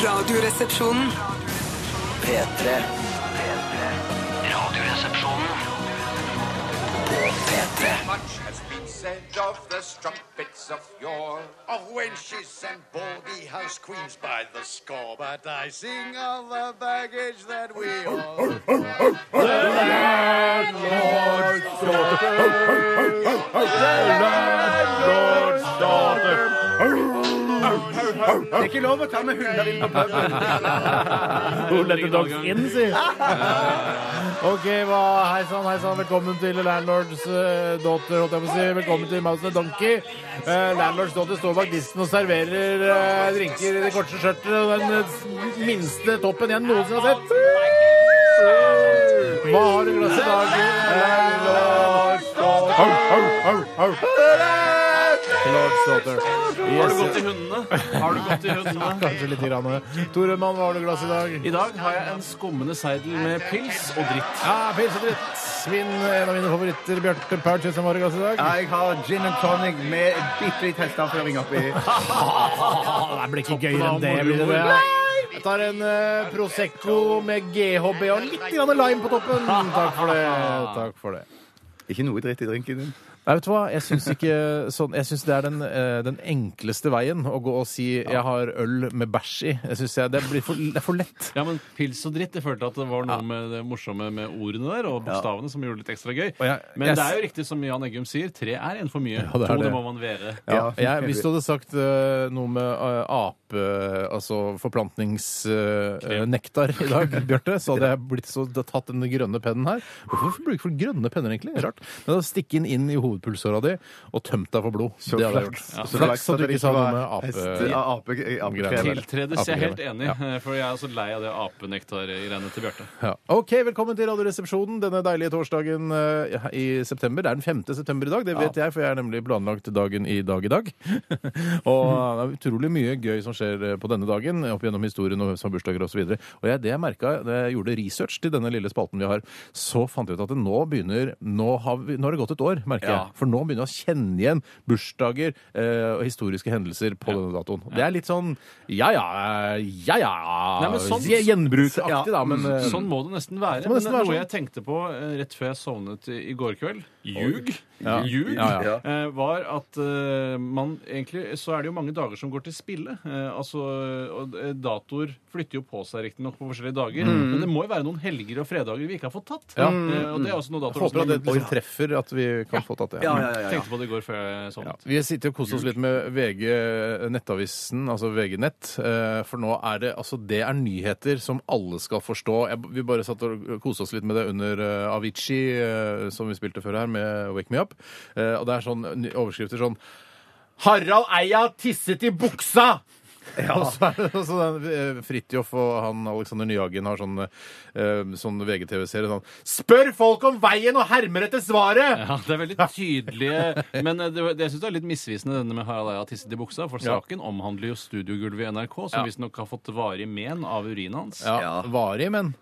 Radioresepsjonen. P3. Radioresepsjonen. På P3. Much has been said of the strumpets of yore, of wenches and baldy house queens by the score, but I sing of the baggage that we all. Who let the dogs in, si. OK, hva, hei sann, hei sann. Velkommen til Landlords eh, Daughter, holdt jeg på å si. Velkommen til Mouse and Donkey. Eh, Landlords Daughter står bak disken og serverer eh, drinker i det korteste skjørtet og den eh, minste toppen jeg noensinne har sett. Hva har du i glasset i dag? Landlords Daughter. Landlords Daughter. Yes, Har du gått i hundene? Har du gått i hundene? Kanskje litt. Grann. Tore Mann, hva har du i glasset i dag? I dag har jeg en skummende seidel med pils og dritt. Ja, pils og dritt. Min, en av mine favoritter, Bjarte Paul Tjøstheim Vargas i dag. Jeg har gin and tonic med bitte litt hesteavføring oppi. det blir ikke gøyere enn det. Blir det det? Jeg tar en eh, Prosecco med GHB og litt grann lime på toppen. Takk for det. Takk for det. Ikke noe dritt i drinken din. Nei, vet du hva? Jeg syns ikke sånn Jeg syns det er den, eh, den enkleste veien å gå og si 'jeg har øl med bæsj i'. Jeg synes jeg, det, blir for, det er for lett. Ja, men Pils og dritt. Jeg følte at det var noe med det morsomme med ordene der og bokstavene som gjorde det litt ekstra gøy. jeg- Men jeg- det er jo riktig som Jan Eggum sier, tre er en for mye. Ja, det er To, det. det må man være. Ja, Ja, jeg, hvis du hadde sagt eh, noe med eh, ape, altså forplantningsnektar i dag, Bjarte, så hadde jeg blitt så da- tatt den grønne pennen her. Hvorfor bruker folk grønne penner egentlig? Rart. Men da stikke den inn i hovedpulsåra di og tømt deg for blod. Så det hadde jeg gjort. flaks. Så Så Flaks at du det ikke sa var noe med ape... hest- ja, ape, apegreier. Greier. Tiltredes, jeg er helt Apegreier. enig, eh, for jeg er så lei av det apenektar-greiene til Bjarte. Ja. OK, velkommen til Radioresepsjonen denne deilige torsdagen eh, i september. Det er den 5. september i dag, det vet jeg, for jeg er nemlig planlagt dagen i dag i dag. og det er utrolig mye gøy som skjer eh, på denne dagen, opp gjennom historien og hvem som har bursdager osv. Og, så og jeg, det jeg merka da jeg gjorde research til denne lille spalten vi har, så fant jeg ut at det nå begynner Nå har, vi, nå har det gått et år, merker Ja. jeg. For nå begynner jeg å kjenne igjen bursdager eh, og historiske hendelser på denne datoen. Det er litt sånn ja ja, eh, ja ja Nei, men sånn- Gjenbruksaktig, da, men eh, Sånn må det nesten være. Sånn må det Men nesten noe være, sånn. jeg tenkte på eh, rett før jeg sovnet i i går kveld Ljug. Ljug. Ja, ja. eh, Var at eh, man egentlig Så er det jo mange dager som går til spille. Eh, altså, og eh, datoer flytter jo på seg riktignok på forskjellige dager. Men det må jo være noen helger og fredager vi ikke har fått tatt. Ja. Eh, og det er også noe Jeg datoer håper også at det har gjort. liksom treffer at vi kan få tatt det. Ja, ja, ja, ja. Tenkte på det i går før jeg Ja. sovnet. Vi sitter og koser oss litt med VG Nettavisen, altså VG Nett. eh, For nå er det altså det er nyheter som alle skal forstå. Jeg, vi bare satt og koste oss litt med det under eh, Avicii, eh, som vi spilte før her, med Wake Me Up. Eh, Og det er sånn ny- overskrifter sånn Harald Eia tisset i buksa! Og så er det også den eh, Fridtjof og han Alexander Nyhagen har sånn, eh, sånn VGTV-serie sånn Spør folk om veien og hermer etter svaret! Ja, det er veldig tydelige Men eh, det, det, jeg syns det er litt misvisende denne med Harald Eia tisset i buksa. For Ja. saken omhandler jo studiogulvet i NRK, som Ja. visstnok har fått varig men av urinen hans. Ja, Ja. Varig, men.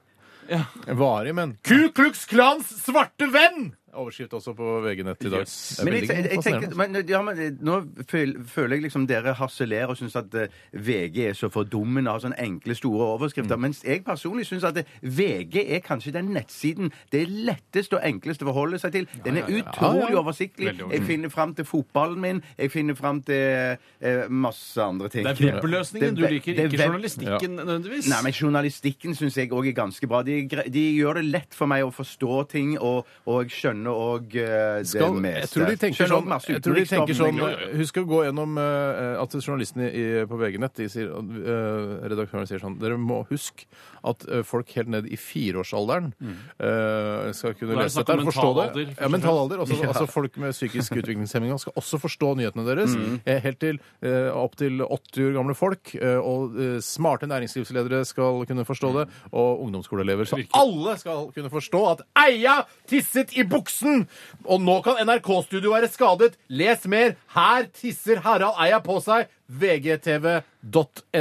Varig, men. Ku Klux Klans svarte venn! Overskrift også på VG-nett i dag. Yes. Det er Men, jeg, veldig jeg, jeg fascinerende. tenkte, men, ja, men eh, nå føl, føler jeg liksom dere harselerer og syns at eh, VG er så fordummende og har sånne enkle, store overskrifter. Mens jeg personlig syns at eh, VG er kanskje den nettsiden det er lettest og enklest å forholde seg til. Den er utrolig oversiktlig. Veldig Jeg finner fram til fotballen min. Jeg finner fram til eh, masse andre ting. Det er webløsningen du Det er- liker, det er ikke web- journalistikken nødvendigvis. Nei, men Journalistikken syns jeg òg er ganske bra. De, gre- de gjør det lett for meg å forstå ting, og, og jeg skjønner òg det Skal, meste. jeg tror de tenker Skjønner også sånn, masse jeg tror de utenriksstoff, tenker sånn men- eh, Husk å gå gjennom eh, at journalistene i, på VG-nett de sier, eh, redaktørene sier sånn Dere må huske at eh, folk helt ned i fireårsalderen eh, skal kunne Da er det lese snakk dette om og forstå det. mental alder, først ja, og mental fremst. alder. Også, Altså folk med psykisk utviklingshemming skal også forstå nyhetene deres. Mm. eh, Helt til eh, opp til 80 år gamle folk. eh, og eh, smarte næringslivsledere skal kunne forstå det. Og ungdomsskoleelever. Så alle skal kunne forstå at Eia tisset i buksen! Og nå kan NRK-studio være skadet. Les mer. Her tisser Harald Eia på seg. VGTV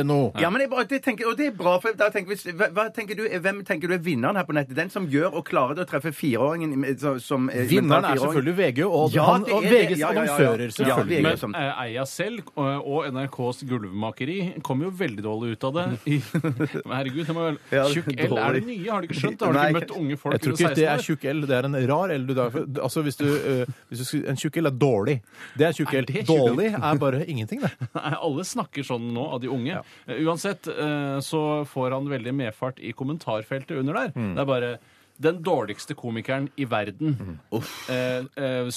.no. Ja, men jeg bare, det tenker, og det er bra, for da tenker, vi- hva, hva tenker du, Hvem tenker du er vinneren her på nettet? Den som gjør og klarer det å treffe fireåringen eh, så- som eh, Vinneren mentalt er fireåring? selvfølgelig VG og, Ja, han, det er og det. VGs Ja, ja, ja, ja. annonsører, Ja, selvfølgelig. VG. Men- Men som- eh, eier jeg selv, og og NRKs gulvmakeri kom jo veldig dårlig ut av det. I, Men herregud, det må vel Ja, det er Tjukk L er det nye, har du ikke skjønt? Har du Nei. ikke møtt unge folk Jeg tror ikke det er tjukk L, det er en rar L. du da- for- Altså hvis du, eh, hvis du skulle- en tjukk L er dårlig. Det er tjukk L. det tjukk L? Dårlig er bare ingenting, det. Nei, alle snakker sånn nå av de unge. Eh, Uansett eh, så får han veldig medfart i kommentarfeltet under der. Mm. Det er bare den dårligste komikeren i verden. Mm. Eh, eh,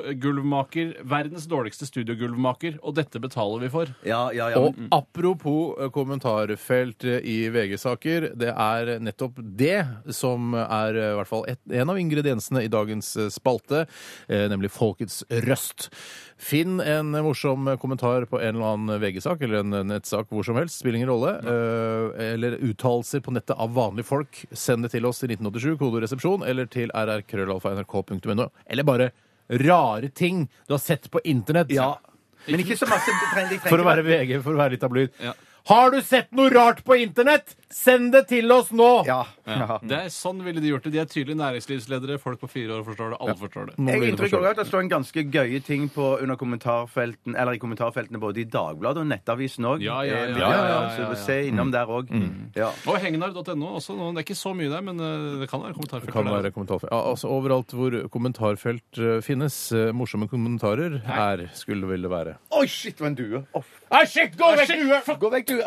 studiogulvmaker. Verdens dårligste studiogulvmaker. Og dette betaler vi for. Ja, ja, ja. Og men- apropos eh, kommentarfelt eh, i VG-saker, det er nettopp det som er eh, i hvert fall et, en av ingrediensene i dagens eh, spalte, eh, nemlig Folkets røst. Finn en eh, morsom kommentar på en eller annen VG-sak eller en eh, nettsak hvor som helst, spiller ingen rolle, eh, eller uttalelser på nettet av vanlige folk. Send det til oss til 1987, kodoresepsjon, eller til rrkrøllalfa.nrk.no, eller bare rare ting du har sett på internett. ja. Men ikke så masse. de trenger- de trenger For å ikke- være VG, for å være litt tabloid. Ja. Har du sett noe rart på internett? Send det til oss nå! Ja. ja. Det er Sånn ville de gjort det. De er tydelig næringslivsledere. Folk på fire år forstår det. Alle forstår det. Nå blir Jeg har det inntrykk av forståelig. at det står en ganske gøye ting på under kommentarfelten, eller i kommentarfeltene både i Dagbladet og Nettavisen òg. Ja, ja, ja, ja, Eh, ja, ja, ja, Så vi ja. får se innom der òg. Mm. Ja. Og hegnar.no også. nå. Det er ikke så mye der, men eh, det kan være Det kan kommentarfelter der. være kommentarfelt. Ja, altså Overalt hvor kommentarfelt eh, finnes, eh, morsomme kommentarer her skulle vel det være. Oi, shit, for en due! Å, f- Gå vekk, due! Gå vekk, due!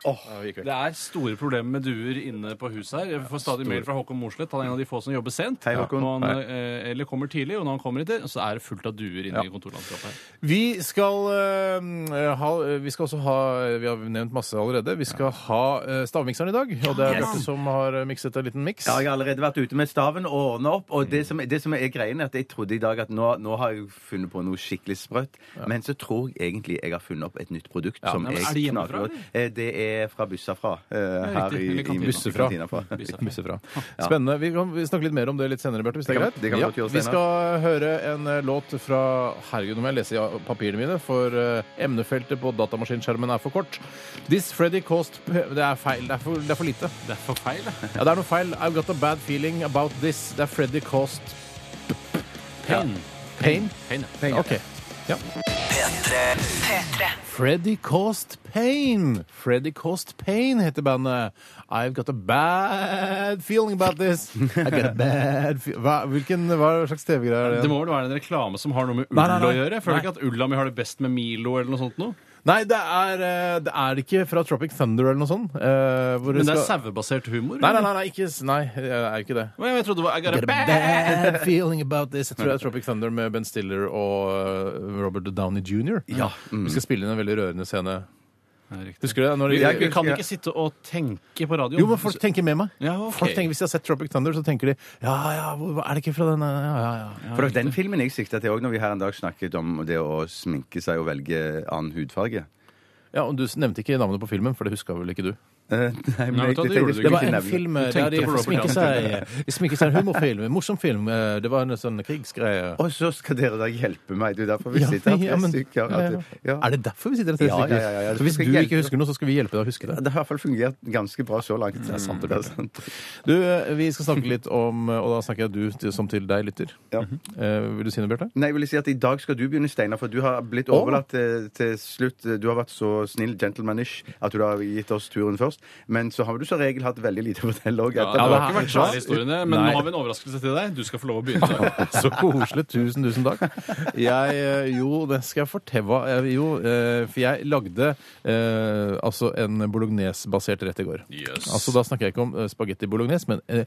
Det er store problemer med duer inne på huset her. Jeg får stadig mail fra Håkon Mosleth. Han er en av de få som jobber sent. Hei, Håkon. Og han, eh, eller kommer tidlig, og når han kommer hit, så er det fullt av duer inne i kontorlandskapet her. Vi skal eh, ha Vi skal også ha Vi har nevnt masse allerede. Vi skal ha eh, stavmikseren i dag, og det er Yes. Bjarte som har eh, mikset en liten miks. Ja, jeg har allerede vært ute med staven og ordna opp. Og Mm. det som, det som er greien, er at jeg trodde i dag at nå, nå har jeg funnet på noe skikkelig sprøtt. Men så tror jeg egentlig jeg har funnet opp et nytt produkt som men jeg er det hjemmefra, knaker godt. Eh, Det er fra Bussafra. eh, Her riktig, i, eller i kantina. Bussefra. kantina fra. Busser fra. Spennende. Vi kan vi snakke litt mer om det litt senere, Bjarte. hvis det er Det kan- greit. det kan ja. godt gjøres, Vi Steinar. skal høre en eh, låt fra Herregud, nå må jeg lese i a- papirene mine, for eh, emnefeltet på datamaskinskjermen er for kort. This Freddy Cost P- Det er feil. Det er for, det er for lite. Det er for feil. det. Ja, det er noe feil. I've got a bad feeling about this. Det er Freddy Cost Pain. Pain. Pain, ja. Ok. Ja. P3 Freddy Cost Pain. Freddy Cost Pain heter bandet. I've got a bad feeling about this. I got a bad fe hva, hvilken, hva slags TV-greie er det? Det må vel være en reklame som har noe med ull Nei, nei, nei. å gjøre? Jeg Nei. Føler ikke at ulla mi har det best med Milo eller noe sånt noe? Nei, det er, eh, det er ikke fra Tropic Thunder eller noe sånt. eh, hvor Men det skal- er sauebasert humor? Nei, nei, eller? nei, nei, ikke, s- nei, det er ikke det. Men Jeg trodde det var I got a Get a bad- bad feeling about this. Jeg tror det er Tropic Thunder med Ben Stiller og eh, Robert Downey jr. Ja. Vi skal spille inn en veldig rørende scene. Nei, riktig. Husker du det? Når de- Vi, Jeg- vi kan ikke sitte og tenke på radioen. jo, men folk tenker med meg. Ja, ok. folk tenker, hvis de har sett Tropic Thunder, så tenker de Ja, ja, hvor- er det ikke fra den Ja, ja, ja. For det var den filmen jeg sikta til òg når vi her en dag snakket om det å sminke seg og velge annen hudfarge. ja og du nevnte ikke navnet på filmen, for det huska vel ikke du? Eh, Nei, Nei, vet du hva, det gjorde du Det ikke. var en film eh, Du der tenkte de på Robert sminket seg, eh, de sminket seg en humorfilm. En morsom film. eh, Det var en sånn krigsgreie. Og så skal dere da hjelpe meg. Det er derfor vi sitter her, tre stykker. at det- ja. Er det derfor vi sitter her tre Ja, stykker? ja, ja, ja. Så hvis Skal du hjelpe. ikke husker noe, så skal vi hjelpe deg å huske det. Det har i hvert fall fungert ganske bra så langt. Det er sant. Det er sant. Du, eh, vi skal snakke litt om eh, Og da snakker jeg du til- som til deg, lytter. Ja. Eh, Vil du si noe, Bjarte? Nei, jeg vil si at I dag skal du begynne, Steinar, for du har blitt overlatt eh, til slutt. Du har vært så snill, gentlemanish, at du har gitt oss turen først. Men så har du som regel hatt veldig lite å fortelle òg. Ja, det har ikke her- vært svære historiene, men Nei. nå har vi en overraskelse til deg. Du skal få lov å begynne. Så koselig. Tusen, tusen takk. Jeg, eh, jo, det skal jeg fortelle hva eh, Jo, eh, for jeg lagde eh, altså en bolognese-basert rett i går. Yes. Altså, da snakker jeg ikke om eh, spagetti bolognese, men eh,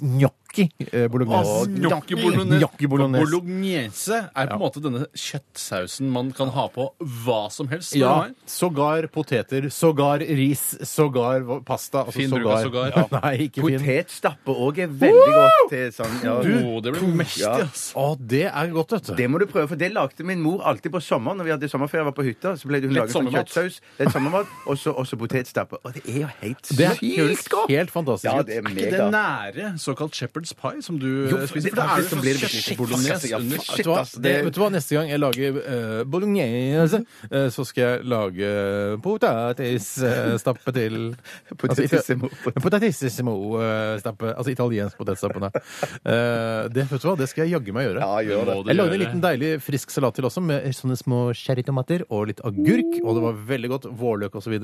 gnocchi eh, bolognese. Gnocchi bolognese. Gnocchi bolognese. Bolognese er på en måte denne kjøttsausen man kan ha på hva som helst. spør Ja, du meg. sågar poteter, sågar ris, sågar sågar hva- pasta. Altså, Finn bruk av sågar. Ja. Nei, ikke Finn. Potetstappe òg er veldig godt til sånn ja. Å, det blir mektig, Ja. ass. Å, det er godt, vet du. Det må du prøve, for det lagde min mor alltid på sommeren. Når vi hadde sommerferie, jeg var på hytta, så ble det hun Lett laget sånn sommermat. kjøttsaus, lett sommermat, og så også potetstappe. Og det er jo helt Det er sykt helt, godt! helt fantastisk. Ja, det er Er ikke det mega. nære såkalt shepherd's pie som du Jo, eh, spiser? det- For det er da det som blir det sånn viktigste. bolognese Shit, ass, under. ja, Vet du, hva? ass, Det, det- vet du hva, neste gang jeg lager eh, bolognese, eh, så skal jeg lage eh, potetstappe til Altså, Potetissimo. Potetissimo-stappe. Altså italiensk potetstappe. nei. Eh, det, vet du hva, det skal jeg jaggu meg gjøre. Ja, gjør det. Må du Jeg lagde en gjøre. liten deilig frisk salat til også, med sånne små cherrytomater og litt agurk. Og det var veldig godt. Vårløk osv.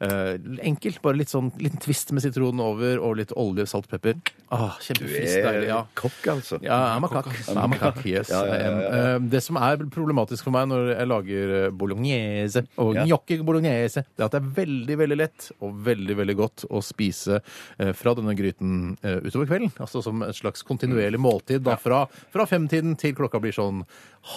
Eh, enkelt. Bare litt sånn liten twist med sitronen over, og litt olje, salt, pepper. Ah, kjempefriskt. Deilig. Ja. kokk, altså. Ja, I'm a cock. I'm a cock, yes. Ja, ja, ja, ja, ja. I am. Eh, Det som er problematisk for meg når jeg lager eh, bolognese og Ja. gnocchi bolognese, det er at det er veldig, veldig lett og veldig, veldig godt å spise eh, fra denne gryten eh, utover kvelden. Altså som et slags kontinuerlig Mm. måltid da fra, fra femtiden til klokka blir sånn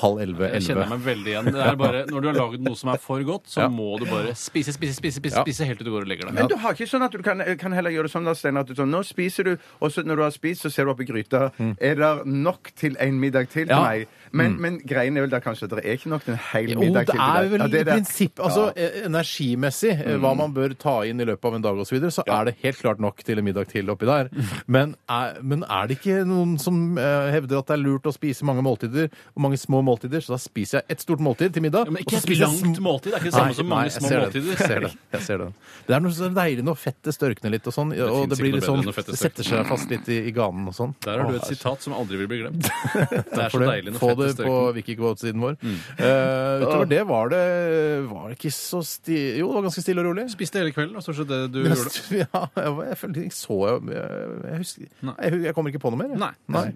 halv elleve, Jeg kjenner elleve. meg veldig igjen. Det er bare, når du har lagd noe som er for godt, så Ja. må du bare spise, spise, spise, spise, Ja. spise helt til du går og legger Men deg. du har ikke sånn at du kan, kan heller gjøre det sånn, da, Steinar, at du sånn Nå spiser du, og så når du har spist, så ser du opp i gryta. Er det nok til en middag til? Mm. Ja. Mm. Nei. Men, men greien er vel da kanskje at det er ikke nok til en hel Jo, det middag er til til deg. vel Ja, i det er det. prinsipp Altså eh, energimessig, eh, Mm. hva man bør ta inn i løpet av en dag osv., så, videre, så er det helt klart nok til en middag til oppi der. Mm. Men er, men er det ikke noen som eh, hevder at det er lurt å spise mange måltider, og mange små måltider, så da spiser jeg et stort måltid til middag. Ja, men og så ikke et spiser jeg langt sm- måltid. Det er ikke det Nei, samme som mange jeg små ser den. måltider. Jeg ser den. Jeg ser den. Det er noe så deilig når fettet størkner litt og sånn, og finnes det blir ikke noe litt bedre sånn enn når fettet Det setter seg fast litt i, i ganen og sånn. Der har du Åh, et sitat som aldri vil bli glemt. Det er for så det. deilig når Få fettet det på størkner. Wikiquote-siden vår. Mm. Eh, utover det var det var det ikke så sti... Jo, det var ganske stille og rolig. Spiste hele kvelden, og stort sett det du Men- gjorde. Ja, jeg, var- jeg følte ikke så Jeg, jeg husker Nei. jeg, jeg kommer ikke på noe mer. jeg. Nei.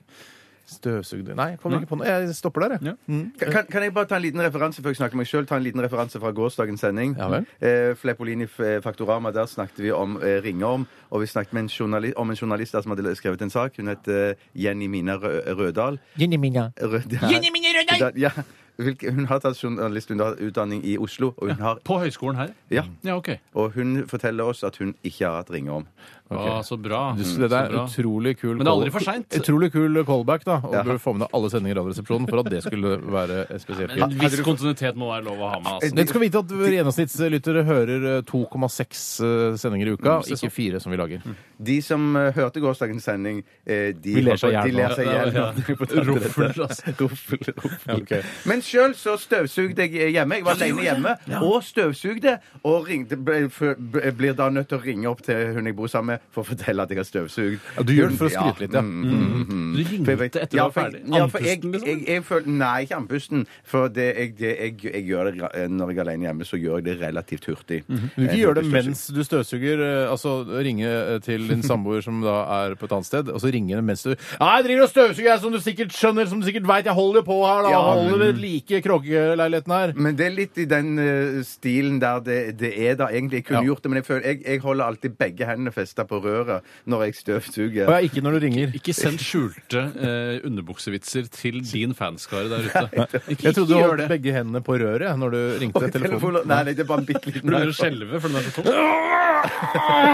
Støvsugde Nei, jeg kommer Nei. ikke på noe. Jeg stopper der, jeg. Ja. Kan, kan jeg bare ta en liten referanse før jeg snakker om meg selv, ta en liten referanse fra gårsdagens sending? Ja vel. Eh, Fleipolini F- Faktorama, der snakket vi om eh, Ringorm, og vi snakket med en journali- om en journalist der som hadde skrevet en sak. Hun het eh, Jenny Mina Rø Rødal. Rødal. Jenny Mina Rødal! Ja. Hvilke, hun har tatt journalistutdanning i Oslo, og hun har På høyskolen her? ja, Ja, OK. og hun forteller oss at hun ikke har hatt ringorm. Ah, så bra. Du, så det der er Så bra. utrolig kul Men det er aldri call- for sent. Utrolig kul callback, da. Og Ja. burde få med deg alle sendinger i Radioresepsjonen for at det skulle være spesielt Men kult. en viss kontinuitet må være lov å ha med. Altså. Dere skal vite at gjennomsnittslyttere hører eh, 2,6 eh, sendinger i Mm, uka, ikke fire som vi lager. De som eh, hørte gårsdagens sending, eh, de, Vi ler seg i hjel de nå. ler seg i hjel. Ja, ja. Ruffler, altså. Ruffel, ruffel. Men sjøl så støvsugde jeg hjemme. Jeg var alene hjemme og støvsugde. Og ringte, ble- f- b- blir da nødt til å ringe opp til hun jeg bor sammen med, for å fortelle at jeg har støvsugd. mm. Ja, du gjør det for å skryte litt, ja. Mm. Mm. Du ringte For jeg vet- etter du ja, var for jeg- ferdig. Ja, for jeg, Andpusten, liksom? jeg, jeg føler, nei, ikke andpusten. For det, jeg, det, jeg, jeg gjør det gra- eh, når jeg er alene hjemme, så gjør jeg det relativt hurtig. Mhm. Du kan Eh, ikke gjøre det hurtig støvsugd. mens du støvsuger. eh, Altså ringe eh, til din samboer som da er på et annet sted, og så ringe henne mens du Nei, jeg driver og støvsuger, jeg, som du sikkert skjønner, som du sikkert veit. Jeg holder på her, da. Ja, holder det like kråkeleiligheten her. Men det er litt i den eh, stilen der det, det er da egentlig. Jeg kunne Ja. gjort det, men jeg, føler, jeg, jeg holder alltid begge hendene festa på røret når jeg støvsuger. Og jeg, ikke når du ringer. Ikke send skjulte eh, underbuksevitser til din fanskare der ute. Ikke, Jeg trodde du ikke holdt gjør det. begge hendene på røret når du ringte telefonen. Telefonen- Nei, nei, det er bare en bitte liten Du begynner å skjelve fordi den er så tom.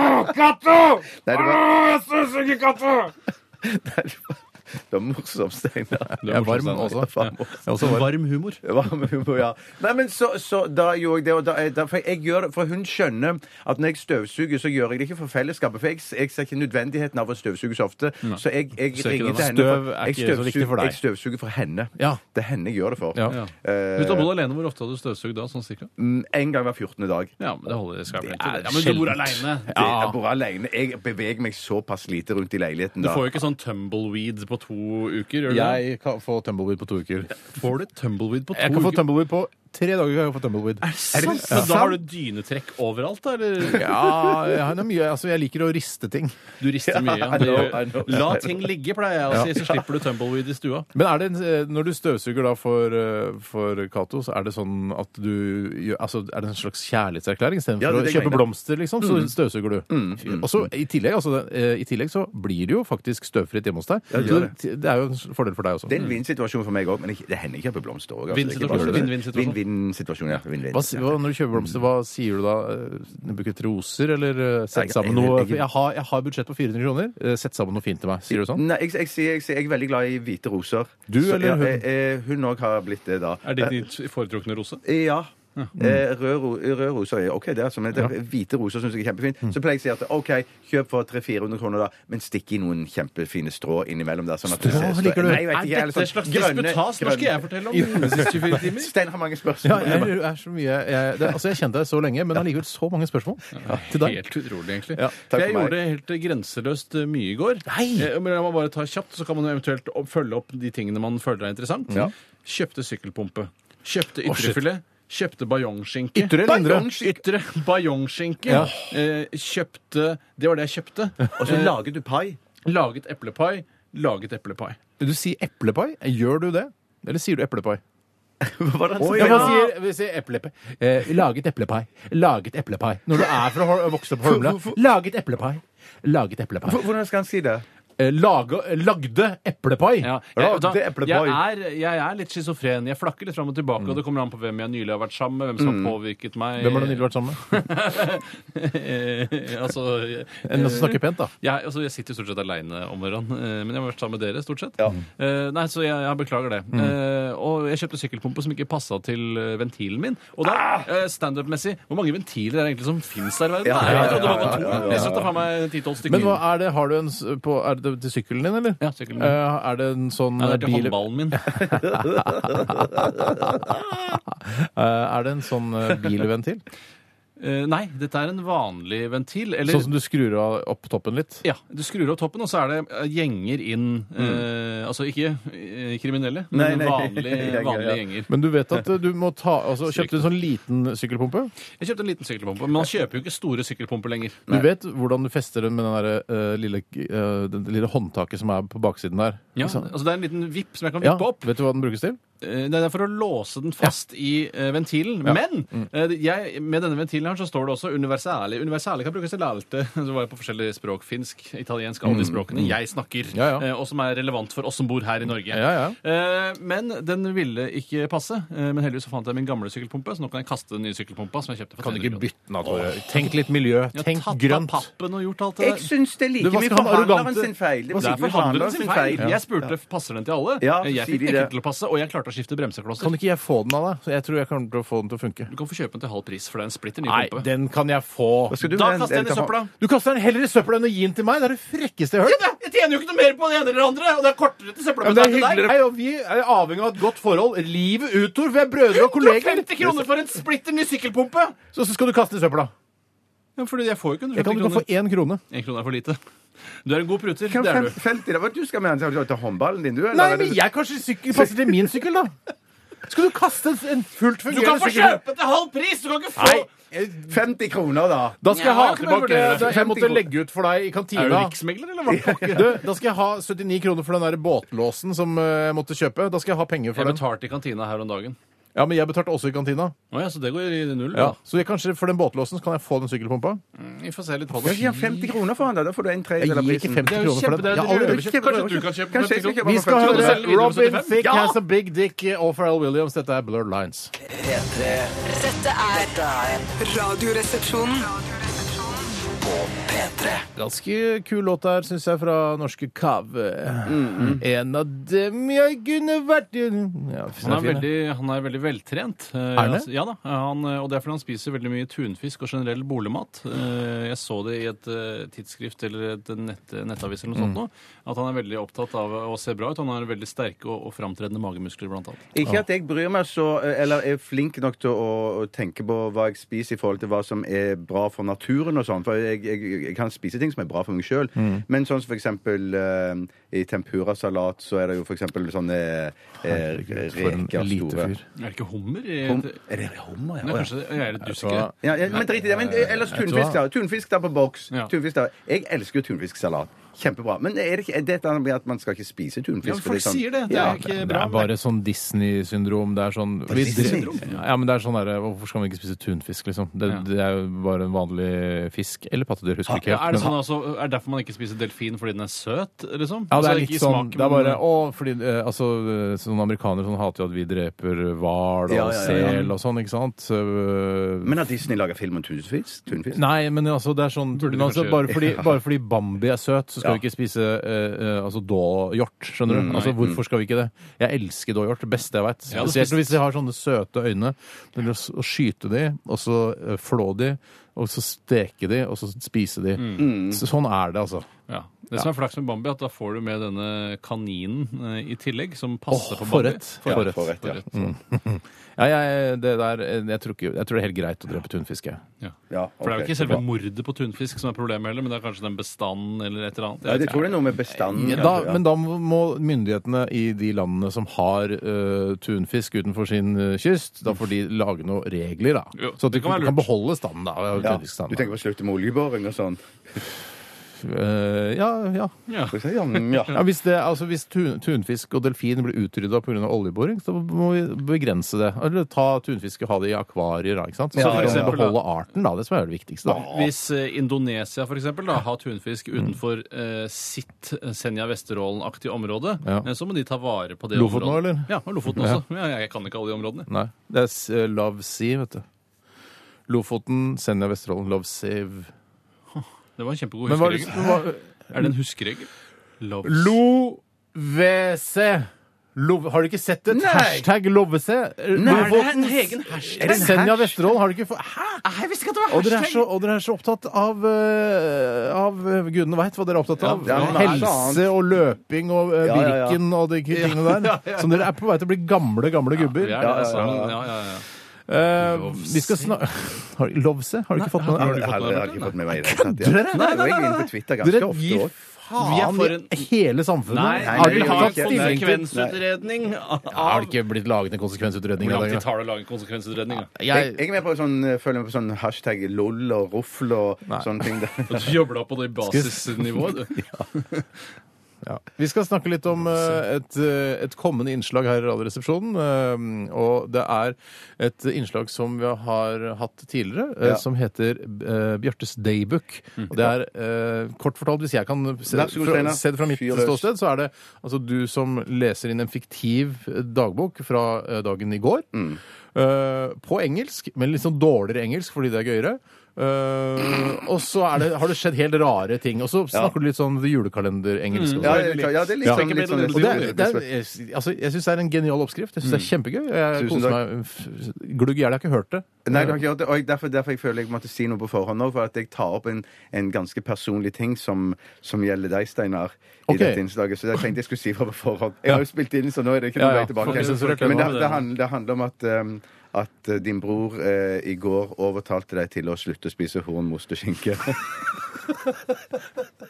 Nei, det var... Nei, det var... Det var morsomt, Steinar. Du Jeg er varm morsom, også. Steinar. Varm Ja. Jeg er også varm. Varm humor. Det var med humor, ja. Nei, men så, så da gjorde jeg det, og da, da for, jeg gjør, det- for hun skjønner at når jeg støvsuger, så gjør jeg det ikke for fellesskapet, for jeg, jeg ser ikke nødvendigheten av å støvsuge så ofte, så jeg, jeg Ser ikke det, ringer til da. henne. for- Støv er jeg ikke så støvsuger- viktig for deg. Jeg støvsuger for henne. Ja. Det er henne jeg gjør det for. Ja. Ja. Eh, Hvis du har bodd alene, hvor ofte har du støvsugd da? Sånn cirka? Mm, En gang hver 14. dag. Ja, men det holder det skal jeg vel Det er til. Ja, men du bor sjeldent. aleine. Det, jeg bor alene. Jeg beveger meg såpass lite rundt i leiligheten Du da. får jo ikke sånn tumbleweed på to uker, gjør du det? Jeg kan få tumbleweed på to uker. Får du tumbleweed på to Jeg kan få uker? tumbleweed på tre dager. kan jeg få tumbleweed. Er det sant? Men da har du dynetrekk overalt, da? Eller? Ja, jeg, har noe mye, altså, jeg liker å riste ting. Du rister mye. I know, Ja. I know. La ting ligge, pleier jeg å si, så slipper du tumbleweed i stua. Men er det, en- eh, når du støvsuger da for, eh, for Cato, så er det sånn at du gjør altså, Er det en slags kjærlighetserklæring? Istedenfor Ja, det er å det kjøpe greiene. blomster, liksom, så Mm. støvsuger du. Mm. Og så i, tillegg, altså, eh, I tillegg så blir det jo faktisk støvfritt hjemme hos deg. så det gjør det, det er jo en fordel for deg også. Det er en vinn-situasjon for meg òg, men ikke- det hender ikke jeg på blomster òg. Vinn-situasjon, Mm. vinn-vinn-situasjon. vinn-vinn-situasjon. Ja. Vinn, vinn. Hva, si- hva, når du kjøper blomster, hva sier du da? Eh, Bruk et roser, eller eh, Nei, sett sammen jeg- noe jeg- Jeg har, jeg har budsjett på 400 kroner, eh, sett sammen noe fint til meg. Sier du sånn? Nei, jeg, jeg, sier- jeg, sier- jeg er veldig glad i hvite roser. Du eller hun? Ja, eh, eh, hun òg har blitt det, da. Er det ditt foretrukne rose? Eh, Ja. Eh, Rød, ro- rød roser er OK, det er, altså, men det, hvite roser syns jeg er kjempefint. Så pleier jeg å si at OK, kjøp for 300-400 kroner, da, men stikk i noen kjempefine strå innimellom der. Sånn at Strå, ser- liker du? Nei, jeg vet Er ikke, eller dette sånn et slags grønne- disputas? Nå skal grønne- jeg fortelle om mine siste 24 timer. Stein har mange Ja, spørsmål. jeg, jeg er så mye jeg, det, Altså, jeg kjente deg så lenge, men allikevel så mange spørsmål til deg. Helt utrolig, egentlig. Ja, for takk jeg for meg. gjorde helt eh, grenseløst eh, mye i går. Nei! Eh, Men jeg må bare ta kjapt, så kan man jo eventuelt opp- følge opp de tingene man føler er interessant. Kjøpte sykkelpumpe. shit. Kjøpte ytrefilet. Kjøpte bajongskinke. Ytre eller indre? Bajongs- Ytre bajongskinke. Ja. Eh, kjøpte Det var det jeg kjøpte. Og så lager du pai. Laget eplepai. Laget eplepai. Du sier eplepai. Gjør du det? Eller sier du eplepai? Hva er det han sier? Ja, man sier, vi sier eplepai. Eh, laget eplepai. Laget eplepai. Når du er fra Hol- vokst opp på Holmlia. Laget eplepai. Laget eplepai. Hvor- Hvordan skal han si det? Eh, lage, lagde eplepai. Ja, Ja, jeg, da, det er jeg, eplepai. er, jeg er litt schizofren. Jeg flakker litt fram og tilbake, og det kommer an på hvem jeg nylig har vært sammen med, hvem som har påvirket meg. Mm. Hvem har du nylig vært sammen med? Eh, altså, jeg, En som snakker pent, da. jeg, altså, jeg sitter jo stort sett aleine om morgenen, eh, men jeg har vært sammen med dere, stort sett. Eh, nei, så jeg, jeg beklager det. Mm. Eh, og jeg kjøpte sykkelpumpe som ikke passa til eh, ventilen min. Og da, Ah! eh, standup-messig, hvor mange ventiler er det egentlig som fins her i verden? Ja, Nei, ja, jeg trodde det ja, var ja, to. ja, ja, ja. Jeg kjøpte faen meg 10-12 stykker. Men hva er det, har du en s- på, er det til sykkelen din, eller? Ja, sykkelen min. Eh, er det en sånn Nei, det er til bil... håndballen min. Eh, er det en sånn eh, bilventil? Eh, nei, dette er en vanlig ventil. Eller Sånn som du skrur av opp toppen litt? Ja, Du skrur av toppen, og så er det eh, gjenger inn eh, Altså ikke eh, kriminelle, men Mm. Nei, nei. vanlige, Gjenger, vanlige ja. gjenger. Men du vet at eh, du må ta altså, Kjøpte du en sånn liten sykkelpumpe? Jeg kjøpte en liten sykkelpumpe, men man kjøper jo ikke store sykkelpumper lenger. Du vet hvordan du fester den med den der, eh, lille, eh, det lille håndtaket som er på baksiden der? Ja, Ikke sant? altså Det er en liten vipp som jeg kan Ja, vippe opp. Vet du hva den brukes til? Eh, Det er for å låse den fast i eh, ventilen. Men Mm. eh, jeg, med denne ventilen her så står det også 'universale'. Universale kan brukes til alt. eh, Så var jeg på forskjellige språk. Finsk, italiensk, alle de språkene jeg snakker. Mm. Ja, ja. eh, Og som er relevant for oss som bor her i Norge. Ja, Eh, Men den ville ikke passe. Eh, Men heldigvis så fant jeg min gamle sykkelpumpe, så nå kan jeg kaste den nye sykkelpumpa. som jeg kjøpte for Kan du 300 ikke kroner. bytte den av, Tore? Tenk litt miljø. Jeg har Tenk tatt av grønt. pappen og gjort alt det Jeg der. syns det Du, er like hva mye skal han forhandleren arrogante- sin feil. Det Det er er forhandleren sin feil. Ja. Jeg spurte passer den til alle. Eh, Ja, jeg fikk sier de ikke det. til å passe, og jeg klarte å skifte bremseklosser. Kan ikke jeg få den av deg? Jeg tror jeg kommer til å få den til å funke. Du kan få kjøpe den til halv pris, for det er en splitter ny Nei, pumpe. den kan jeg få. Hva skal du Da med en- kaster jeg en den i kamera- søpla. Du kaster den heller i søpla enn å gi den til meg! Det er det frekkeste jeg har hørt! Jeg tjener jo ikke noe mer på det ene eller det andre, og det er kortere til Ja, men det er enn hyggeligere. Hei, og vi er avhengig av et godt forhold livet ut, Tor. Vi er brødre og kolleger. kroner for en splitter ny sykkelpumpe! Så, så skal du kaste den i søpla. Ja, fordi jeg får jo ikke Jeg kan 150 du kan få kroner. én krone. En krone er for lite. Du er en god pruter. Hvem Det er du. 50, det var du skal med han til til håndballen din, du? eller? Nei, men jeg kanskje sykkel passer til min sykkel, da. Skal du kaste en- en fullt fungerende sykkel? til halv pris! Du kan ikke Nei, 50 kroner, da. da skal jeg ha Ja, kan jeg tilbake vurdere det? da- Jeg 50 måtte kroner. legge ut for deg i Er du kantina. riksmegler, eller hva? Du, da skal jeg ha 79 kroner for den der båtlåsen som eh, jeg måtte kjøpe. Da skal jeg ha penger for Jeg den. betalte i kantina her om dagen. Ja, Men jeg betalte også i kantina. Å ja, så det går i null, Ja. da. Så jeg, kanskje for den båtlåsen så kan jeg få den sykkelpumpa. Vi får se litt på Jeg det. gir han 50 kroner for han, da. Da får du en Jeg tredjedel av gir ikke 50 prisen. Det er jo kroner for kjempe- det den. er Jeg har dyrt. aldri Kanskje du kan kjøpe Kanskje jeg 50 skal kjøpe Vi for skal 50 kroner. høre selger videre på Robin 75. Thicke Ja! has a big dick eh, og Pharrell Williams. Dette er Blurred Lines. P3 Dette er Radioresepsjonen. og P3 Ganske kul låt der, syns jeg, fra norske Kave. En av dem jeg kunne vært i ja, Han er, fin, ja. veldig, han er veldig veltrent. Eh, han det? altså, Ja da, han, eh, og det er fordi han spiser veldig mye tunfisk og generell boligmat. Eh, Jeg så det i et eh, tidsskrift eller et nett, nettavis eller noe Mm. sånt nå, at han er veldig opptatt av å se bra ut. Han har veldig sterke og, og framtredende magemuskler, blant annet. Ikke at jeg bryr meg så, eller er flink nok til å, å tenke på hva jeg spiser i forhold til hva som er bra for naturen og sånn, for jeg, jeg, jeg kan spise ting som er bra for meg sjøl. Men sånn som for eksempel eh, i tempurasalat så er det jo for eksempel sånne eh, reker store. Er det ikke hummer? i- Hum- Er det Nei, hummer, ja? Å, ja. kanskje det jeg er et duske. hva? eh, Ja, ja, men drit i det. Men ellers tunfisk, da. Tunfisk da på boks. Ja. Tunfisk da. Jeg elsker jo tunfisksalat. Kjempebra. Men er det ikke er det et eller annet med at man skal ikke spise tunfisk? Ja, men for folk er sånn- sier det. Det er Ja. ikke Det bra. er bare sånn Disney-syndrom. Det er sånn vi dre- Disney-syndrom? Ja, men det er sånn derre Hvorfor skal man ikke spise tunfisk, liksom? Det, Ja. det er jo bare en vanlig fisk. Eller pattedyr, husker ikke Ja, er det men- sånn altså, er det derfor man ikke spiser delfin fordi den er søt, liksom? Ja, det Altså, er ikke i litt sånn smaken, Det er men- bare Å, fordi eh, altså eh, Sånne amerikanere sånn hater jo at vi dreper hval og Ja, ja, ja, ja. sel og sånn, ikke sant? Så, eh, Men har Disney laga film om tunfisk? tunfisk? Nei, men altså, det er sånn Burde vi men altså, kanskje bare, gjøre. fordi, bare fordi Bambi er søt, så skal Ja. vi ikke spise eh, eh, altså, dåhjort. Skjønner Mm, du? altså, Hvorfor skal vi ikke det? Jeg elsker dåhjort. Det beste jeg veit. Jeg hadde Spesielt spist- hvis de har sånne søte øyne. Det blir å s- Å skyte de, og så eh, flå de, og så steke de, og så spise de. Mm. Så, sånn er det, altså. Ja. Det som er flaks med Bambi, er at da får du med denne kaninen eh, i tillegg, som passer Åh, på Bambi. forrett. Ja, Forrett. forrett, ja. Ja, jeg, det der, eh, jeg, tror ikke, jeg tror det er helt greit å drepe tunfisk. jeg. Ja. Ja, For det er jo ok, ikke selve bra. mordet på tunfisk som er problemet heller, men det er kanskje den bestanden eller et eller annet. Ja, Jeg det vet tror jeg er noe med bestanden Mm. Da, men da må myndighetene i de landene som har eh, tunfisk utenfor sin eh, kyst, da får de lage noen regler, da. Jo, så at de det kan kan, være lurt. beholde standen, da. av ja. Du tunfiskstanden, da. tenker på å slutte med oljeboring og sånn? Eh, ja, ja. ikke. Så jeg sier, Ja, mm, ja. ja hvis, det, altså, hvis tun, tunfisk og delfin blir utrydda pga. oljeboring, så må vi begrense det. Eller ta tunfisk og ha det i akvarier, da. ikke sant? Så Ja, vi for kan eksempel, da. beholde arten, da. Det som er det viktigste. da. Ja. Hvis eh, Indonesia for eksempel, da, har tunfisk utenfor eh, sitt Senja-Vesterålen-aktig område, Ja. eh, så må de ta vare på det Lofoten området. også, eller? Ja, og Lofoten også. Ja. jeg kan ikke alle de områdene. Nei. Det er s- eh, Love Sea, vet du. Lofoten, Senja, Vesterålen, Love Save. Det var en kjempegod Men hva er det huskeregel. Er det en huskeregel? Loves. Lovese! Lov, har du ikke sett det? Hashtag Lovese. Er det Lofoten, en egen hashtag? Senja, Vesterålen. Har du ikke fått Hæ?! Jeg visste ikke at det var Og dere, er så, og dere er så opptatt av eh, Av eh, Gudene veit hva dere er opptatt av. Ja, ja, men det er noe Helse og løping og eh, Ja, ja, ja. Birken og de tingene der. Som dere er på vei til å bli gamle, gamle Vi gubber. er det, ja, ja, altså. ja, ja. Ja, ja, ja. Eh, vi skal snakke Lovse? Har du ikke fått med har det? du Jeg fått har med jeg har deg? ikke fått med meg i det hele tatt. Kødder dere? ja. Nei, og jeg er inne på Twitter ganske Dere ofte gir òg. Vi er for faen en- i hele samfunnet. Nei, har vi dere ikke har fått tatt en stilling til konsekvensutredning av Har det ikke blitt laget en konsekvensutredning? Hvor i lang tid dag, da? tar det å lage en konsekvensutredning? da? Jeg, jeg Jeg, er med på sånn, eh, følger med på sånn hashtag lol og ruffel og sånne ting. der. Du jobber da på det basisnivået, du. ja. Vi skal snakke litt om eh, et, eh, et kommende innslag her i Radioresepsjonen. eh, Og det er et innslag som vi har hatt tidligere, eh, Ja. Mm. som heter eh, Bjørtes Daybook. Og det er eh, kort fortalt, hvis jeg kan se, Vær så god, Steinar. fra, se det fra mitt Fyr løs. ståsted, så er det altså du som leser inn en fiktiv dagbok fra eh, dagen i går. Mm. Eh, på engelsk, men litt sånn dårligere engelsk fordi det er gøyere. Eh, og så er det, har det skjedd helt rare ting. Og så snakker du litt sånn the julekalenderengelsk. Mm. Ja, også. det, ja, det er litt Ja. sånn, litt sånn Og det er, det er, altså, jeg syns det er en genial oppskrift. Jeg syns det er kjempegøy. Jeg Mm. Tusen koser takk. meg f- glugg i hjel. Jeg har ikke hørt det. Nei, du har ikke gjort det. Og jeg, derfor, derfor jeg føler jeg måtte si noe på forhånd òg, for at jeg tar opp en, en ganske personlig ting som, som gjelder deg, Steinar, i Ok. dette innslaget. Så jeg tenkte jeg skulle si fra på forhånd. Jeg har jo spilt inn, så nå er det ikke noe Ja, ja. vei tilbake. Får ikke sensurert det Men det, nå. det, handler, det handler om at um, at eh, din bror eh, i går overtalte deg til å slutte å spise horn, most og skinke.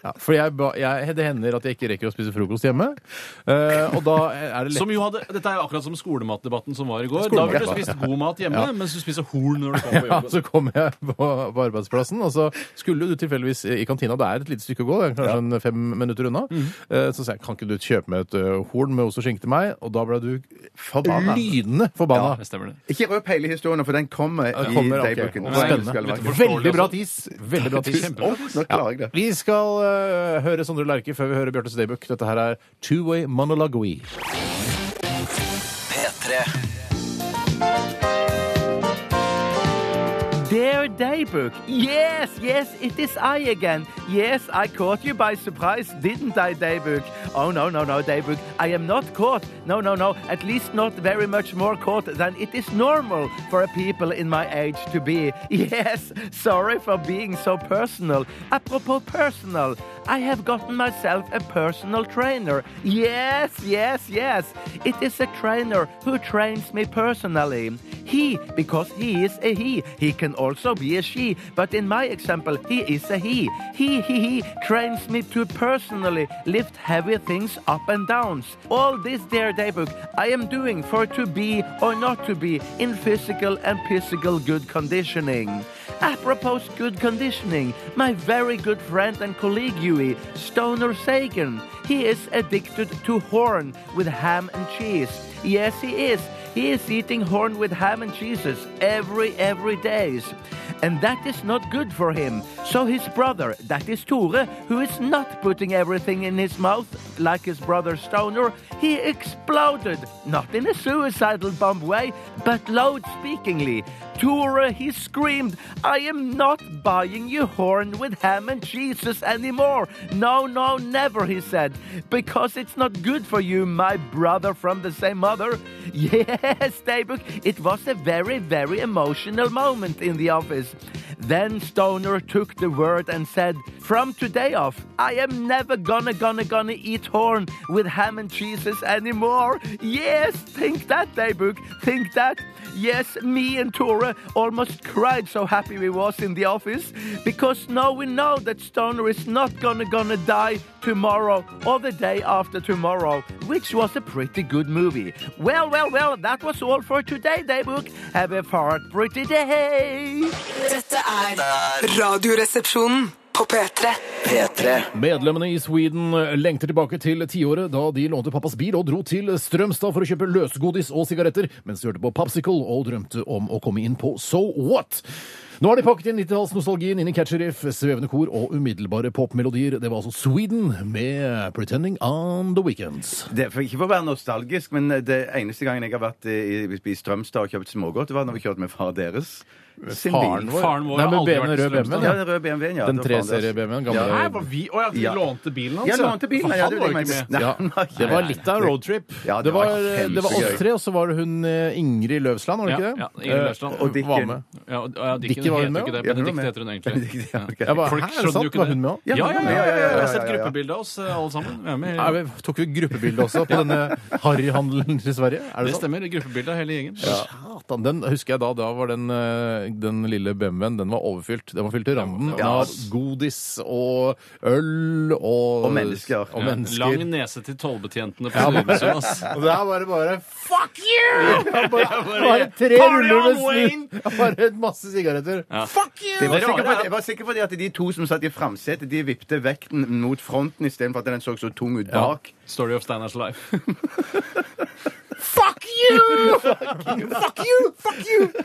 Ja, for jeg, ba- jeg, det hender at jeg ikke rekker å spise frokost hjemme. Eh, og da er det lett Som jo hadde, dette er jo akkurat som skolematdebatten som var i går. Da ville du spist god mat hjemme, mens du spiser horn når du kommer på Ja, jobb. så kom jeg på, på arbeidsplassen, og så skulle du tilfeldigvis i kantina. Det er et lite stykke å gå, det er kanskje en fem minutter unna. Mhm. Eh, Så sa jeg kan ikke du kjøpe meg et ø, horn med ost og skinke til meg? Og da ble du Forbanna. lynende forbanna. Det stemmer, det. Ikke røp hele historien, for den kommer i Det kommer, ok. daybooken. Nei, Spennende. skal være. Veldig bra tis. Veldig bra tis. Kjempebra. Nå klarer jeg det. Vi skal ø, høre Sondre Lerche før vi hører Bjarte Staybook. Dette her er Two Way Monologue. P3 Dear Daybook, yes, yes, it is I again. Yes, I caught you by surprise, didn't I, Daybook? Oh, no, no, no, Daybook, I am not caught. No, no, no, at least not very much more caught than it is normal for a people in my age to be. Yes, sorry for being so personal. Apropos personal, I have gotten myself a personal trainer. Yes, yes, yes, it is a trainer who trains me personally. he because he is a he. He can also be a she, but in my example, he is a he. He, he, he trains me to personally lift heavy things up and downs. All this, dear Daybook, I am doing for to be or not to be in physical and physical good conditioning. Apropos good conditioning, my very good friend and colleague Yui, Stoner Sagan, he is addicted to horn with ham and cheese. Yes, he is. He is eating horn with ham and cheeses every, every days. And that is not good for him. So his brother, that is Tore, who is not putting everything in his mouth like his brother Stoner, he exploded. Not in a suicidal bomb way, but loud speakingly. Tore, he screamed, I am not buying you horn with ham and cheeses anymore. No, no, never, he said. Because it's not good for you, my brother from the same mother. Yes, Daybook, it was a very, very emotional moment in the office. Then Stoner took the word and said, From today off, I am never gonna, gonna, gonna eat horn with ham and cheeses anymore. Yes, think that, Daybook, think that. Yes, me and Tora almost cried so happy we was in the office because now we know that Stoner is not gonna gonna die tomorrow or the day after tomorrow, which was a pretty good movie. Well, well, well, that was all for today, Daybook. Have a fart pretty day. Dette er Radioresepsjonen på P3. P3 Medlemmene i Sweden lengter tilbake til tiåret da de lånte pappas bil og dro til Strømstad for å kjøpe løsgodis og sigaretter, mens de hørte på Popsicle og drømte om å komme inn på So What? Nå har de pakket inn 90-tallsnostalgien inn i catchy-riff, svevende kor og umiddelbare popmelodier. Det var altså Sweden med 'Pretending On The Weekends'. Det, for, ikke for å være nostalgisk, men eh, det eneste gangen jeg har vært eh, i, i, i Strømstad og kjøpt smågodt, var når vi kjørte med far deres. sin bil. Faren vår Nei, har men aldri BMW, vært i rød Strømstad. BMW. Ja, den røde BMW-en, ja. Den det var faren deres. treserie-BMW-en. gamle- Nei, var vi, å, ja, vi Ja. lånte bilen hans. Jeg lånte bilen, For ja, han det var var jo ikke ikke med. med. Ja, Nei, nei, det var nei, litt nei. av en roadtrip. Ja, det det, var, var det var oss kjempegøy. tre, og så var det hun eh, Ingrid Løvsland, var det ikke det? Ja, ja, Ingrid Løvsland. Eh, Og Dikken. Var med. Ja, og- ja, Dikken Dikke var hun heter med, jo ikke det. ja. Benedicte Ja, heter hun egentlig. Benedicte, ja, ok. Ja. Jeg bare, Folk "Hæ, er det skjønner sant? jo ikke Var det. hun med også? Ja, ja, ja, ja, ja, Jeg ja, har sett ja, ja, ja. gruppebilde av oss eh, alle sammen. Vi er med. Er vi, tok vi gruppebilde også på denne harryhandelen til Sverige? Er Det det, sant? stemmer. Gruppebilde av hele gjengen. Satan, den husker jeg da. Da var den, eh, den lille BMW-en den var overfylt. Den var fylt til randen Ja, av godis og øl og Og mennesker. Og Ja, mennesker. Lang nese til tollbetjentene på Lillesund, ass. Og der var det bare Fuck you! Bare, bare tre Party ruller on, med Wayne! snus. Bare en masse sigaretter. Fuck you! Jeg var, Det er sikker på, rare, ja. jeg var sikker på det at de to som satt i framsetet, de vippte vekten mot fronten istedenfor at den så så tung ut bak. Story of Steiners life. Fuck you! Fuck you! Fuck you!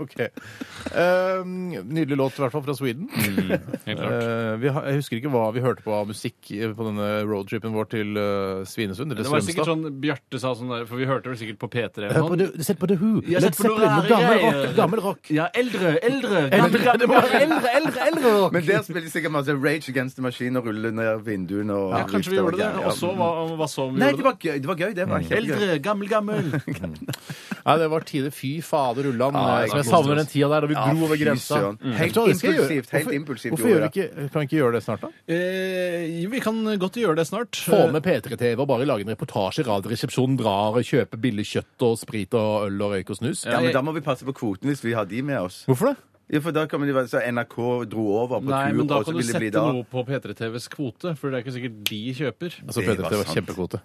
Ok. Ehm, nydelig låt, i hvert fall fra Sweden. Helt klart. Eh, vi, har- jeg husker ikke hva vi hørte på av musikk eh, på denne roadtripen vår til eh, Svinesund. Eller Det var sikkert Strømstad. sånn Bjarte sa sånn der, for vi hørte vel sikkert på P3 eller Hør på noe. det- Sett på The Who. Jeg har Led sett på noe Zeppelin og rare gammel greier. rock. Gammel rock. Ja, eldre, eldre, Eldre, gammel, gammel, eldre, eldre, eldre rock. Men der spiller de sikkert masse Rage Against the Machine og ruller ned vinduene og Ja, kanskje vi gjorde det. Ja. Og så hva, hva så om vi Nei, gjorde det det? var gøy. Det var gøy, det Mm. var kjempegøy. Eldre, gammel, gammel. Nei, det var tider. Fy fader ullan. Ja, eh, som jeg det var savner den tida der da vi Ja, dro over fy grensa. søren. Mm. Helt Vet du hva, det skal jeg gjøre. impulsivt, helt Hvorfor- impulsivt Hvorfor gjorde gjør vi ikke, kan vi ikke gjøre det snart, da? Eh, vi kan godt gjøre det snart. Eh, Få med P3-TV og bare lage en reportasje. Radioresepsjonen drar og kjøper billig kjøtt og sprit og øl og røyk og snus. Ja, men Da må vi passe på kvoten hvis vi har de med oss. Hvorfor det? Ja, for da kommer de være- Så NRK dro over på Nei, tur, men da og så kan du vil det bli sette da noe på P3TVs kvote, for det er ikke sikkert de kjøper. Altså, Det P3 var var sant. kjempekvote.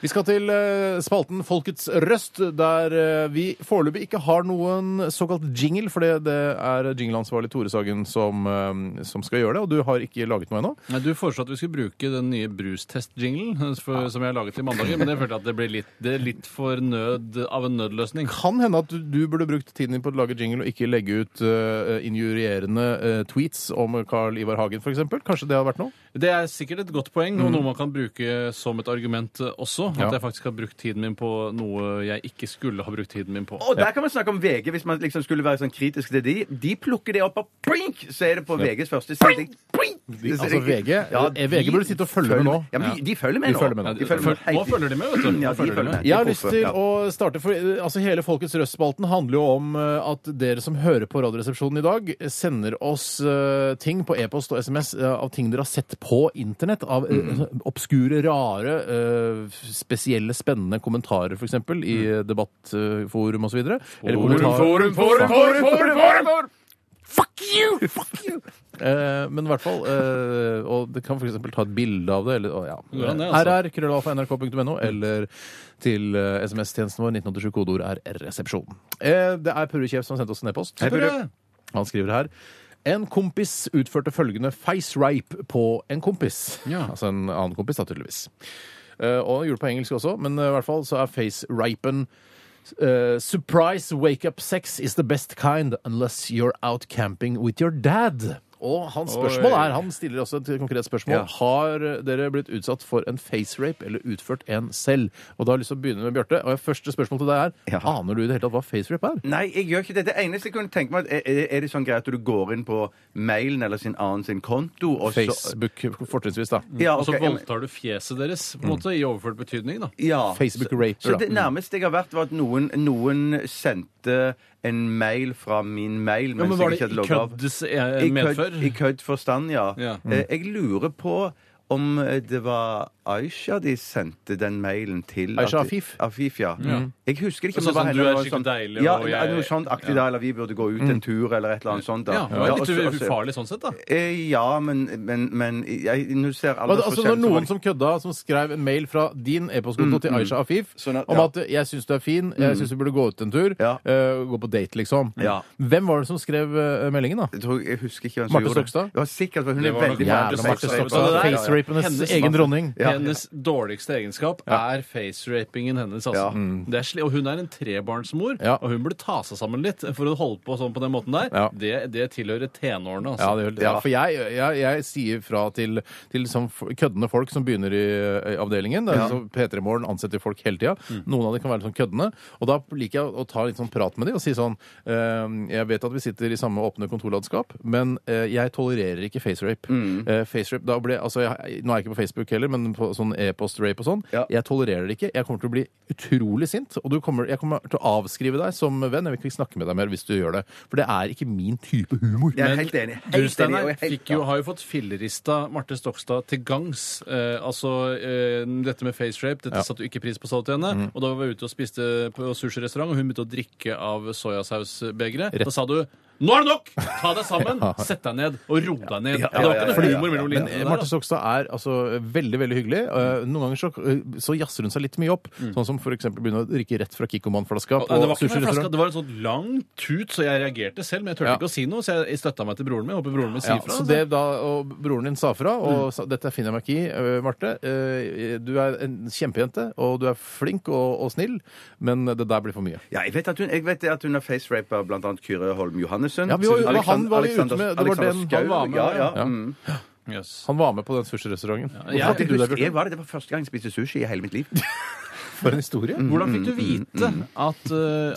Vi skal til eh, spalten Folkets røst, der eh, vi foreløpig ikke har noen såkalt jingle, for det, det er jingleansvarlig Tore Sagen som, eh, som skal gjøre det, og du har ikke laget noe ennå. Nei, Du foreslo at vi skulle bruke den nye brustest-jinglen eh, for- som jeg har laget til mandager, men jeg følte at det ble litt, det er litt for nød av en nødløsning. Kan hende at du, du burde brukt tiden din på å lage jingle og ikke legge ut eh, injurierende eh, tweets om Carl Ivar Hagen, f.eks. Kanskje det hadde vært noe? Det er sikkert et godt poeng, og noe man kan bruke som et argument eh, også. At Ja. jeg faktisk har brukt tiden min på noe jeg ikke skulle ha brukt tiden min på. og der kan man snakke om VG, hvis man liksom skulle være sånn kritisk til de. De plukker det opp, og blink, så er det på VGs første side. Blink! De, Så er altså det- VG, Ja, eh, VG burde sitte og følge med nå. Ja, men de, de følger med De nå. følger med nå. Ja, de følger med. Nå følger de med, vet du. Nå Ja, de følger de følger med. med. Jeg har lyst til Ja. å starte, for eh, altså hele Folkets Røst-spalten handler jo om eh, at dere som hører på Radioresepsjonen i dag, eh, sender oss eh, ting på e-post og SMS eh, av ting dere har sett på internett av eh, obskure, rare, eh, spesielle, spennende kommentarer, f.eks. i eh, debattforum osv. forum, forum, forum, forum, forum, forum! Fuck you! Fuck you! Eh, men i hvert fall eh, Og det kan f.eks. ta et bilde av det. Eller, å, ja. Det går an, det, altså. Mm. RR, krøllalfa, nrk.no, eller til eh, SMS-tjenesten vår. 1987 kodeord er resepsjon. Eh, det er Purre Kjev som har sendt oss en e-post. Han skriver her en kompis utførte følgende face rape på en kompis. Ja. Altså en annen kompis, da, tydeligvis. Eh, og gjorde det på engelsk også, men eh, i hvert fall så er face rapen eh, Surprise wake-up sex is the best kind unless you're out camping with your dad. Og hans spørsmål er, han stiller også et konkret spørsmål. Har dere blitt utsatt for en face rape eller utført en selv? Og da har jeg lyst til å begynne med Bjarte. Og første spørsmål til deg er, Ja. aner du i det hele tatt hva face rape er? Nei, jeg gjør ikke det. Det eneste jeg kunne tenke meg, er, er- er det sånn greit at du går inn på mailen eller sin annen sin konto, og så Facebook, fortrinnsvis, da. Ja, Og så ok, jeg- voldtar du fjeset deres på en måte, i overført betydning. da. ja. Facebook Så- raper, Så da. Mm. det nærmeste jeg har vært, var at noen, noen sendte en mail fra min mail Ja, men mens jeg Var ikke det i hadde logget av. køddes eh, I medfør? kødd- I kødd forstand, ja. Ja. Mm. Eh, Jeg lurer på om eh, det var Aisha de sendte den mailen til. Aisha at- Afif? Mm. Afif, ja. Jeg husker ikke om Sånn det var som henne, du er eller skikkelig deilig, Ja, og jeg- noe sånt aktig da, eller vi burde gå ut Mm. en tur, eller et eller annet sånt. da. Ja, det var og litt så- og så- ufarlig sånn sett, da. Eh, Ja, men, men, men jeg, nå ser alle Altså, altså, når noen som kødda, som skrev en mail fra din e-postkonto til Aisha Afif Sånn at- om ja. Mm. at 'jeg syns du er fin, jeg syns vi burde gå ut en tur', Ja. eh, gå på date, liksom. Ja. Hvem var det som skrev eh, meldingen, da? jeg, tror, jeg husker ikke hvem som Marte gjorde det. Stokstad? Ja, sikkert, for hun Det er var nok veldig Marte Jævla flink til Marte Stokstad. Så sex- det Stokstad. der- Facerapenes Hennes- egen dronning. Ja. Hennes dårligste egenskap er facerapingen hennes. Altså. Ja. Det er sli og hun er en trebarnsmor, Mm. Ja. og hun burde ta seg sammen litt for å holde på sånn på den måten der. Ja. Det, det tilhører tenårene, Ja, altså. det, gjør- ja, for jeg, jeg, jeg sier fra til, til sånn f- køddende folk som begynner i, eh, avdelingen. Det er sånn P3 Morgen ansetter folk hele tida. Noen av dem kan være litt sånn køddende. Og da liker jeg å ta litt sånn prat med dem og si sånn eh, Jeg vet at vi sitter i samme åpne kontorlandskap, men eh, jeg tolererer ikke facerape. Eh, facerape da ble, altså, jeg, nå er jeg ikke på Facebook heller, men på sånn e-post-rape og sånn. Ja. Jeg tolererer det ikke. Jeg kommer til å bli utrolig sint, og du kommer, jeg kommer til å avskrive deg som venn. Jeg vil ikke snakke med deg mer hvis du gjør det. For det er ikke min type humor. Jeg er helt enig. Du, Helt enig. og Steinar, jeg er helt- fikk jo- har jo fått fillerista Marte Stokstad til gangs. Eh, altså eh, dette med facerape, dette satte jo ikke pris på, sa du til henne. Mhm. Og da var vi ute og spiste på sushirestaurant, og hun begynte å drikke av soyasausbegeret. Da sa du nå er det nok! Ta deg sammen, sett deg ned og ro deg ned. det var ikke noe humor mellom linjene. Men eh, der, Marte altså. Stokstad er altså veldig veldig hyggelig. Eh, Mm. Noen ganger så, eh, så jazzer hun seg litt mye opp. Sånn som for eksempel begynner å drikke rett fra Kikkoman-flaska Nei, Mm. det på var ikke noe flaske, sushirestaurant. det var en sånn lang tut, så jeg reagerte selv, men jeg turte Ja. ikke å si noe, så jeg støtta meg til broren min. Jeg Håper broren min sier Ja, fra. så altså. det da, og Broren din sa fra, Mm. og sa, dette finner jeg meg ikke i. eh, Marte, eh, du er en kjempejente, og du er flink og, og snill, men det der blir for mye. Ja, jeg vet at hun, jeg vet at hun er facerapa blant annet Kyrre Holm Johannessen. Ja, vi var- Alexand- han var vi ute med. Det var Alexander den han Schou, var med, Ja, ja. ja. Mm. Yes. Han var med på den sushirestauranten. jeg- Hvorfor Det, ikke du der, husker, jeg Bjørte? var det. det var første gang jeg spiste sushi i hele mitt liv. For en historie. Mm. Hvordan fikk du vite at, eh,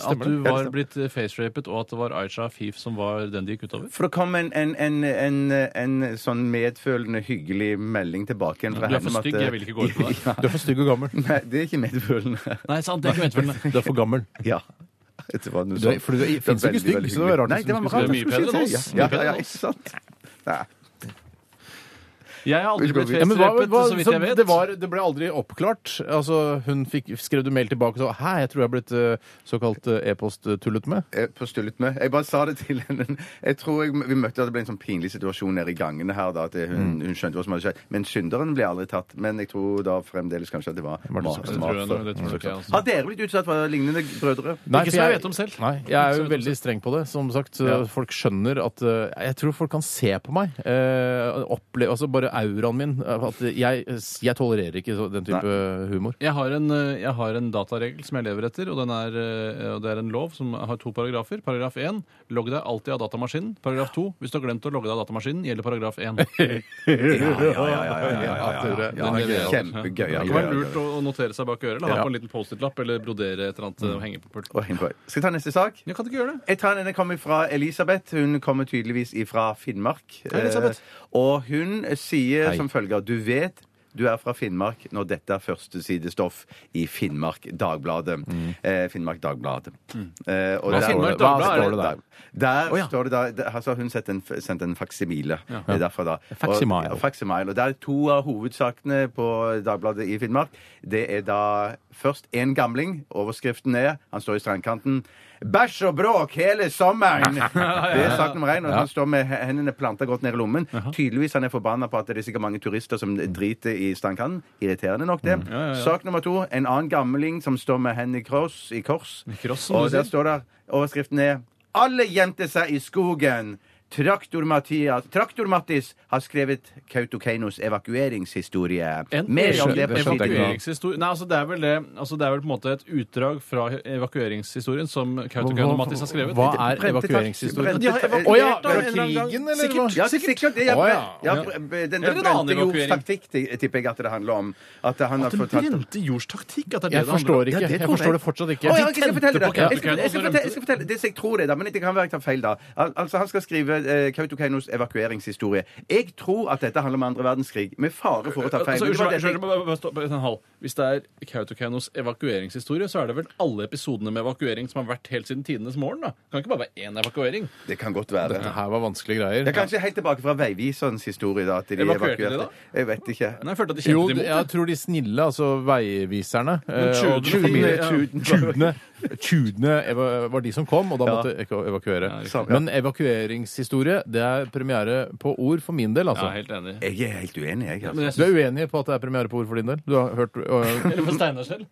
mm, at Stemmer du det? var blitt eh, facerapet, og at det var Aisha Afif som var den det gikk utover? For det kom en, en, en, en, en sånn medfølende, hyggelig melding tilbake igjen fra Du er for om at- stygg, jeg vil ikke gå ut på deg. Du er for stygg og gammel. Nei, det er ikke medfølende. Nei, sant, det er ikke ment for meg. Du er for gammel. Ja. Det var noe Du er- for du er- Det finnes jo ikke veldig, stygg, veldig så det var rart hyggelig. Nei, hvis det var du skulle- rart. hvis du Mye skulle bedre si enn oss. det. Ja, Mye bedre ja, ja, enn ikke sant? Nei. Jeg har aldri blitt Ja, men hva, facerapet, hva, så vidt så jeg vet. det, var, det ble aldri oppklart. Altså, hun fikk, skrev du mail tilbake og sa Hæ, jeg tror jeg er blitt eh, såkalt eh, e-post-tullet med. eh, på stullet med. Jeg bare sa det til henne. Jeg tror jeg, vi møtte at det ble en sånn pinlig situasjon nede i gangene her. da, at hun, hun skjønte hva som hadde skjedd. Men synderen ble aldri tatt. Men jeg tror da fremdeles kanskje at det var Marte Marte Stokstad. Det tror jeg nok, Stokstad. det tror jeg ikke, altså. Har dere blitt utsatt for lignende Nei, brødre? Ikke for som jeg vet om selv. Nei, jeg Ikke er jo som jeg vet om veldig streng på det. Som sagt, så folk skjønner at eh, Jeg tror folk kan se på meg. eh, opple altså bare auraen min. eh, At jeg, jeg tolererer ikke så- den type humor. Jeg har, en, eh, jeg har en dataregel som jeg lever etter, og, den er, eh, og det er en lov som har to paragrafer. Paragraf 1 logg deg alltid av datamaskinen. Paragraf 2 hvis du har glemt å logge deg av datamaskinen, gjelder paragraf 1. Det Den lever jeg opp. Kjempegøy. ja, kan ja, være ja, lurt å å notere seg bak øret, eller ha på en liten Post-It-lapp, eller brodere et eller Mm. annet eh, og henge på pult. ja. Oi, boy. Skal jeg ta neste sak? Jeg kan ikke gjøre det. Jeg tar en jeg kommer fra Elisabeth. Hun kommer tydeligvis fra Finnmark. Hei, Elisabeth. Eh, og hun sier som følger Du vet du er fra Finnmark når dette er førstesidestoff i Finnmark Dagbladet. Eh, Finnmark Dagbladet. Eh, og Hva der- Finnmark Hva Dagblad er det? står det der? Der Å, ja. står det da, der, altså har hun sendt en, f- sendt en faksimile eh, derfra da. Og- Faksimile. ja, faksimile. Og der er to av hovedsakene på Dagbladet i Finnmark. Det er da først en gamling. Overskriften er, han står i strandkanten, Bæsj og bråk hele sommeren! Det er sak nummer én. Og han står med he- hendene planta godt ned i lommen. Tydeligvis han er forbanna på at det er sikkert mange turister som driter i strandkanten. Irriterende nok, det. Sak nummer to, en annen gamling som står med hendene i kors. I kors. kross, som og du der sier. står der, overskriften er Alle gjemte seg i skogen. Traktor-Mattis Traktor Mattis har skrevet Kautokeino's evakueringshistorie. En Mer om egen det skjønte på jeg ikke. side evakueringshistorie Nei, altså det er vel det altså Det er vel på en måte et utdrag fra evakueringshistorien som Kautokeino og Mattis har skrevet. Hva er Brente tak- evakueringshistorien? brente tak- Å ja, eh, fra krigen, eller? Sikkert. hva? Ja, sikkert. Det, ja, Å, ja. ja. b- den Eller der en annen brente jords evakuering. taktikk ti- tipper jeg at det handler om. At han har Den fortalt brente jords taktikk? At det er Jeg det det handler om? forstår ikke. Ja, det Jeg tror forstår det fortsatt Å, ikke. ja, ok, jeg skal fortelle på det. Jeg skal, Kautokeino, jeg, skal så fortelle, jeg skal fortelle det som jeg tror det, da, men det kan være jeg tar feil. da Al Altså Han skal skrive eh, Kautokeino's evakueringshistorie. Jeg tror at dette handler om andre verdenskrig, med fare for å ta feil. Altså, Men det var unnskyld meg, det jeg- unnskyld meg, bare- bare stopp en hal. Hvis det er Kautokeino's evakueringshistorie, så er det vel alle episodene med evakuering som har vært helt siden tidenes morgen? da? Det kan ikke bare være én evakuering. det kan godt være. Dette her var vanskelige greier. Det er kanskje helt tilbake fra Veiviserens historie. da at de Evakuerte de da? Jeg vet ikke. Men jeg følte at de Jo, kjempet imot. jeg tror de snille, altså veiviserne eh, og Tudene- familie- ja. Tudene Tudene eva- var de som kom, og da måtte eko- evakuere. riktig. Men evakueringshistorie, det er premiere på ord for min del, Ja, altså. helt enig. Jeg er helt uenig, jeg. Altså. Men jeg Du er synes, uenig på at det er premiere på ord for din del? Du har hørt øh, eller for Steinar selv.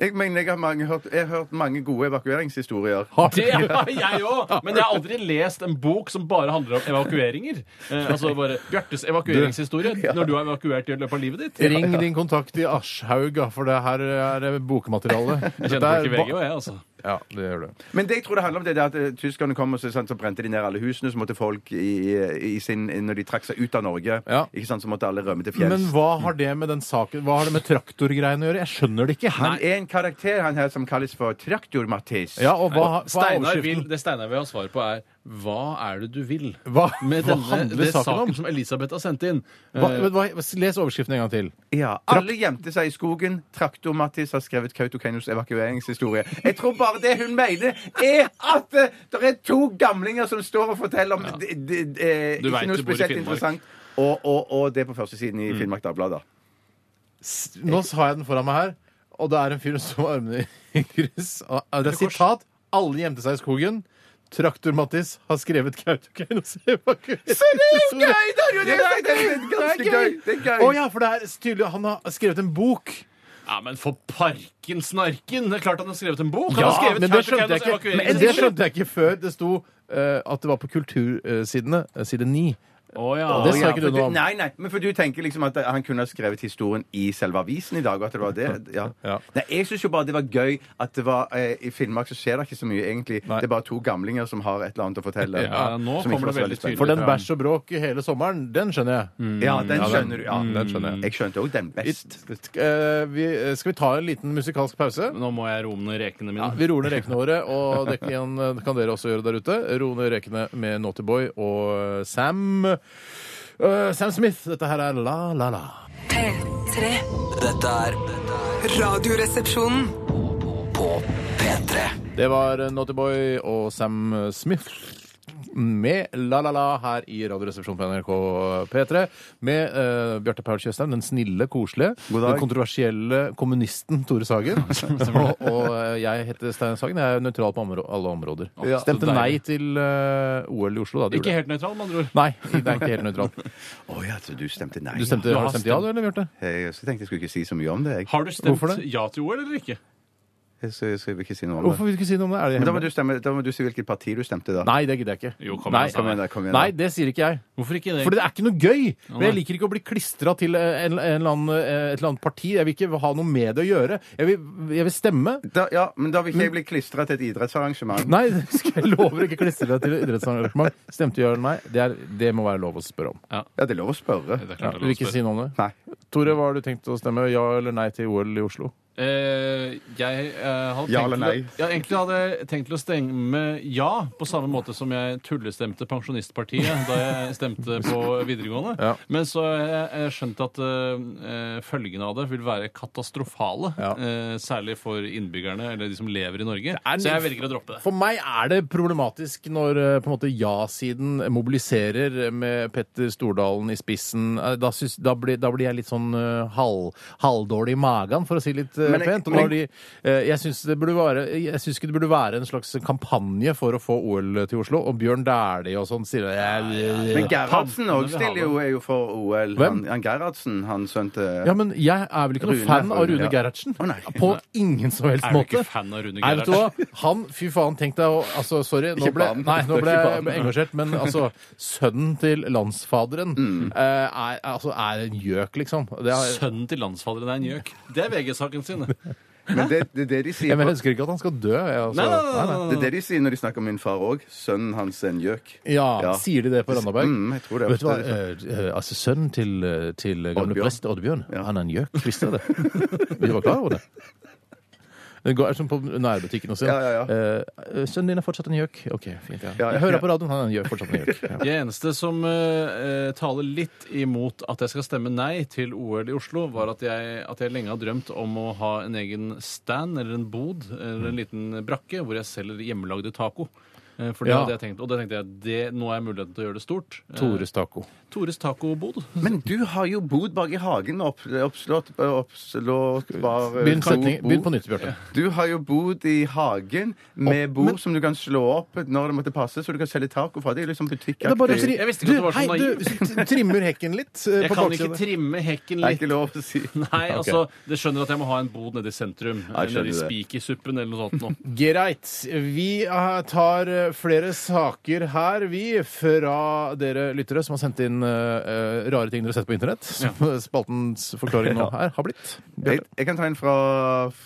Jeg mener jeg har, mange, hørt, jeg har hørt mange gode evakueringshistorier. har Det har jeg òg! Men jeg har aldri lest en bok som bare handler om evakueringer. Eh, altså bare Bjartes evakueringshistorie når du har evakuert i løpet av livet ditt. Ring din kontakt i Aschhaug, da, for det her er øh, bokmateriale. Jeg Dette kjenner er folk i ba- VG og jeg, altså. Ja, det gjør du. Men det jeg tror det handler om, det er at eh, tyskerne kom og så, sånn, så brente de ned alle husene. Så måtte folk i, i sin, når de trakk seg ut av Norge, Ja. ikke sant, så måtte alle rømme til fjells. Men hva har det med den saken Hva har det med traktorgreiene å gjøre? Jeg skjønner det ikke. Han er en karakter han her som kalles for Traktor-Mattis. Ja, og hva, hva er Steinar vil, overskriften? det Steinar vil ha svar på, er hva er det du vil Hva, med hva denne handler det saken saken om? som Elisabeth har sendt inn? Hva, Eh, hva, les overskriften en gang til. Ja, Alle gjemte seg i skogen. Traktor-Mattis har skrevet Kautokeino's evakueringshistorie. Jeg tror bare det hun mener, er at eh, det er to gamlinger som står og forteller om d- d- d- eh, Du ikke vet noe du bor i spesielt Finnmark. interessant. Og, og, og det er på førstesiden i Finnmark Dagblad, da. Nå har jeg den foran meg her, og det er en fyr som har armene i kryss. Og- Det er sitat. Alle gjemte seg i skogen. Traktor-Mattis har skrevet Kautokeino's evakuering. Så det er jo gøy! Det er jo det! jeg tenkte. Det er ganske gøy. Det er Å gøy. ja, for det er tydelig han har skrevet en bok. Ja, men for parken snarken! Det er klart han har skrevet en bok! han Ja, har skrevet men det skjønte jeg Kautokeino's ikke, men det evakueringshistorie. skjønte jeg ikke før det sto eh, at det var på kultursidene, eh, side 9. Å, ja. Og det sa Ja, ikke for du noe om. Nei, nei, men for du tenker liksom at han kunne ha skrevet historien i selve avisen i dag, og at det var det? Ja. Ja. Nei, jeg syns jo bare det var gøy at det var eh, I Finnmark så skjer det ikke så mye, egentlig. Nei. Det er bare to gamlinger som har et eller annet å fortelle. Ja, nå som kommer ikke var det så veldig spennende. For den bæsj og bråk hele sommeren, den skjønner jeg. Ja, den Ja, den- skjønner du. Ja. mm, den skjønner jeg. Jeg skjønte òg den best. Eh, vi, skal vi ta en liten musikalsk pause? Nå må jeg roe ned rekene mine. Ja, vi roer ned rekene våre, og det kan, eh, kan dere også gjøre der ute. Roe ned rekene med Naughty Boy og Sam øh, Sam Smith. Dette her er La La La. P3. Dette er dette er Radioresepsjonen. på P3. Det var Naughty Boy og Sam Smith. Med La La La her i Radioresepsjonen på NRK P3. Med eh, Bjarte Paul Tjøstheim, den snille, koselige, God dag. den kontroversielle kommunisten Tore Sagen. og, og eh, jeg heter Stein Sagen. Jeg er nøytral på områ- alle områder. Ja, Stemte så deilig. nei til eh, OL i Oslo, da. det gjorde Ikke jeg. helt nøytral, med andre ord. Nei, det er ikke helt nøytralt. Å ja, så du stemte nei. Eh, Du stemte, Du har har du stemt ja, du, eller Bjarte? Jeg så tenkte jeg skulle ikke si så mye om det. Jeg, Har du Hvorfor stemt det? ja til OL eller ikke? jeg, så, så jeg vil ikke si noe om Hvorfor det. vil du ikke si noe om det? Er det Men da må hemmelig? du, stemme, da må du si hvilket parti du stemte, da. Nei, det gidder jeg ikke. Jo, kom igjen, Nei, altså. Kom igjen da, kom igjen da. Nei, det sier ikke jeg. Hvorfor ikke det? Fordi det er ikke noe gøy! Men jeg nei. liker ikke å bli klistra til eh, en, en eller annen, eh, et eller annet parti. Jeg vil ikke ha noe med det å gjøre. Jeg vil, jeg vil stemme. Da, ja, men da vil ikke jeg bli klistra til et idrettsarrangement. Nei, det skal jeg lover ikke klistre deg til idrettsarrangement. Stemte du ja eller nei? Det, er, det må være lov å spørre om. Ja, det er lov å spørre. Det er Ja, klart det du vil er lov å ikke spørre. si noe om det? Nei. Tore, hva har du tenkt å stemme? Ja eller nei til OL i Oslo? Eh, jeg eh, hadde Ja tenkt eller til å- Ja, egentlig hadde jeg tenkt til å stemme ja, på samme måte som jeg tullestemte Pensjonistpartiet da jeg stemte på videregående. Ja. Men så har jeg, jeg skjønt at eh, eh, følgene av det vil være katastrofale. Ja. eh, særlig for innbyggerne, eller de som lever i Norge. er Så jeg litt- velger å droppe det. For meg er det problematisk når eh, på en måte ja-siden mobiliserer med Petter Stordalen i spissen. Eh, Da, syns- da, blir, da blir jeg litt sånn eh, hal, halvdårlig i magen, for å si litt eh, Men jeg- pent. Og men- når de, eh, jeg syns det burde være Jeg synes ikke det burde være en slags kampanje for å få OL til Oslo, og Bjørn Dæhlie og sånn sier jeg, Men Gerhardsen Pampene òg vil ha stiller jo, er jo for OL. Hvem? Han, han Gerhardsen, han sønn til Ja, men jeg er vel ikke noen Rune, fan av Rune, Rune ja. Gerhardsen? Å, nei. På ingen som helst Er du måte. ikke fan av Rune Nei, vet du hva? Han, fy faen, tenk deg å Altså, sorry, nå Ikke ble, banen. nei, nå ble Ikke jeg engasjert, men altså Sønnen til landsfaderen Mm. eh, er, altså, er en gjøk, liksom. Det er, Sønnen til landsfaderen er en gjøk. Det er VG-saken sin. det. Men det, det er det de sier jeg, men på- jeg ønsker ikke at han skal dø. Jeg, altså. Nei, nei, nei, nei, det er det de sier når de snakker om min far òg. Sønnen hans er en gjøk. Ja, Ja. Sier de det på Randaberg? Mm, jeg tror det er Vet du hva? ofte Eh, eh, altså, sønnen til, eh, til gamle Oddbjørn. prest Oddbjørn, Ja. han er en gjøk. Visste jeg det? Vi var klar over det. Det går- er som på nærbutikken og sånn. Ja, ja, Eh, sønnen din er fortsatt en gjøk. OK, fint. Ja. Ja, ja, Jeg hører ja. på radioen, han er en gjøk, fortsatt en gjøk. Ja. Det eneste som eh, eh, taler litt imot at jeg skal stemme nei til OL i Oslo, var at jeg, at jeg lenge har drømt om å ha en egen stand eller en bod eller en liten brakke hvor jeg selger hjemmelagde taco. Eh, For det Ja. hadde jeg tenkt, og da tenkte jeg det, nå har jeg muligheten til å gjøre det stort. Eh, Tores taco. Tores tacobod. eh, Men du har jo bodd bak i hagen med opp, oppslått, oppslått bar eh, Begynn, to setning, bord. begynn på nytt, Bjarte. Du har jo bodd i hagen med bord som du kan slå opp når det måtte passe, så du kan selge taco fra. Det er jo liksom Det sånn butikkaktig. er bare å tri- Jeg visste ikke at det var så hei, naiv. Du trimmer hekken litt eh, Jeg på kan ikke baksiden. trimme hekken Det er litt. ikke lov å si. Nei, altså, det skjønner at jeg må ha en bod nede i sentrum. jeg skjønner Nede i det. spikersuppen eller noe sånt. Nå. Greit. Vi eh, tar eh, flere saker her, vi, fra dere lyttere som har sendt inn eh, eh, rare ting dere har sett på internett. Som spaltens forklaring nå her har blitt. Jeg, jeg kan ta en fra,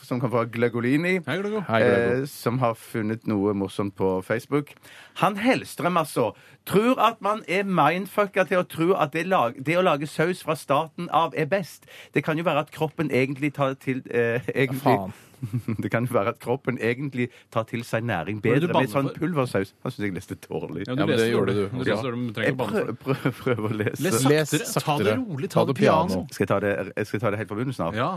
som kom fra Glagolini. Hei, Glego. Hei, Glego. eh, som har funnet noe morsomt på Facebook. Han Hellstrøm, altså, tror at man er mindfucka til å tro at det, lag, det å lage saus fra starten av er best. Det kan jo være at kroppen egentlig tar til eh, egentlig, faen. Det kan jo være at kroppen egentlig tar til seg næring er det bedre du med banner sånn for? pulversaus. Han syns jeg leste dårlig. Ja, Ja, du men det leser gjorde dårlig. du. Du Ja. leser dårlig, men du trenger Jeg ikke banne for prøver, det. prøver, prøver å lese. Les saktere. Ta det rolig. Ta det piano. Skal jeg ta det, skal jeg ta det helt fra bunnen snart? Ja.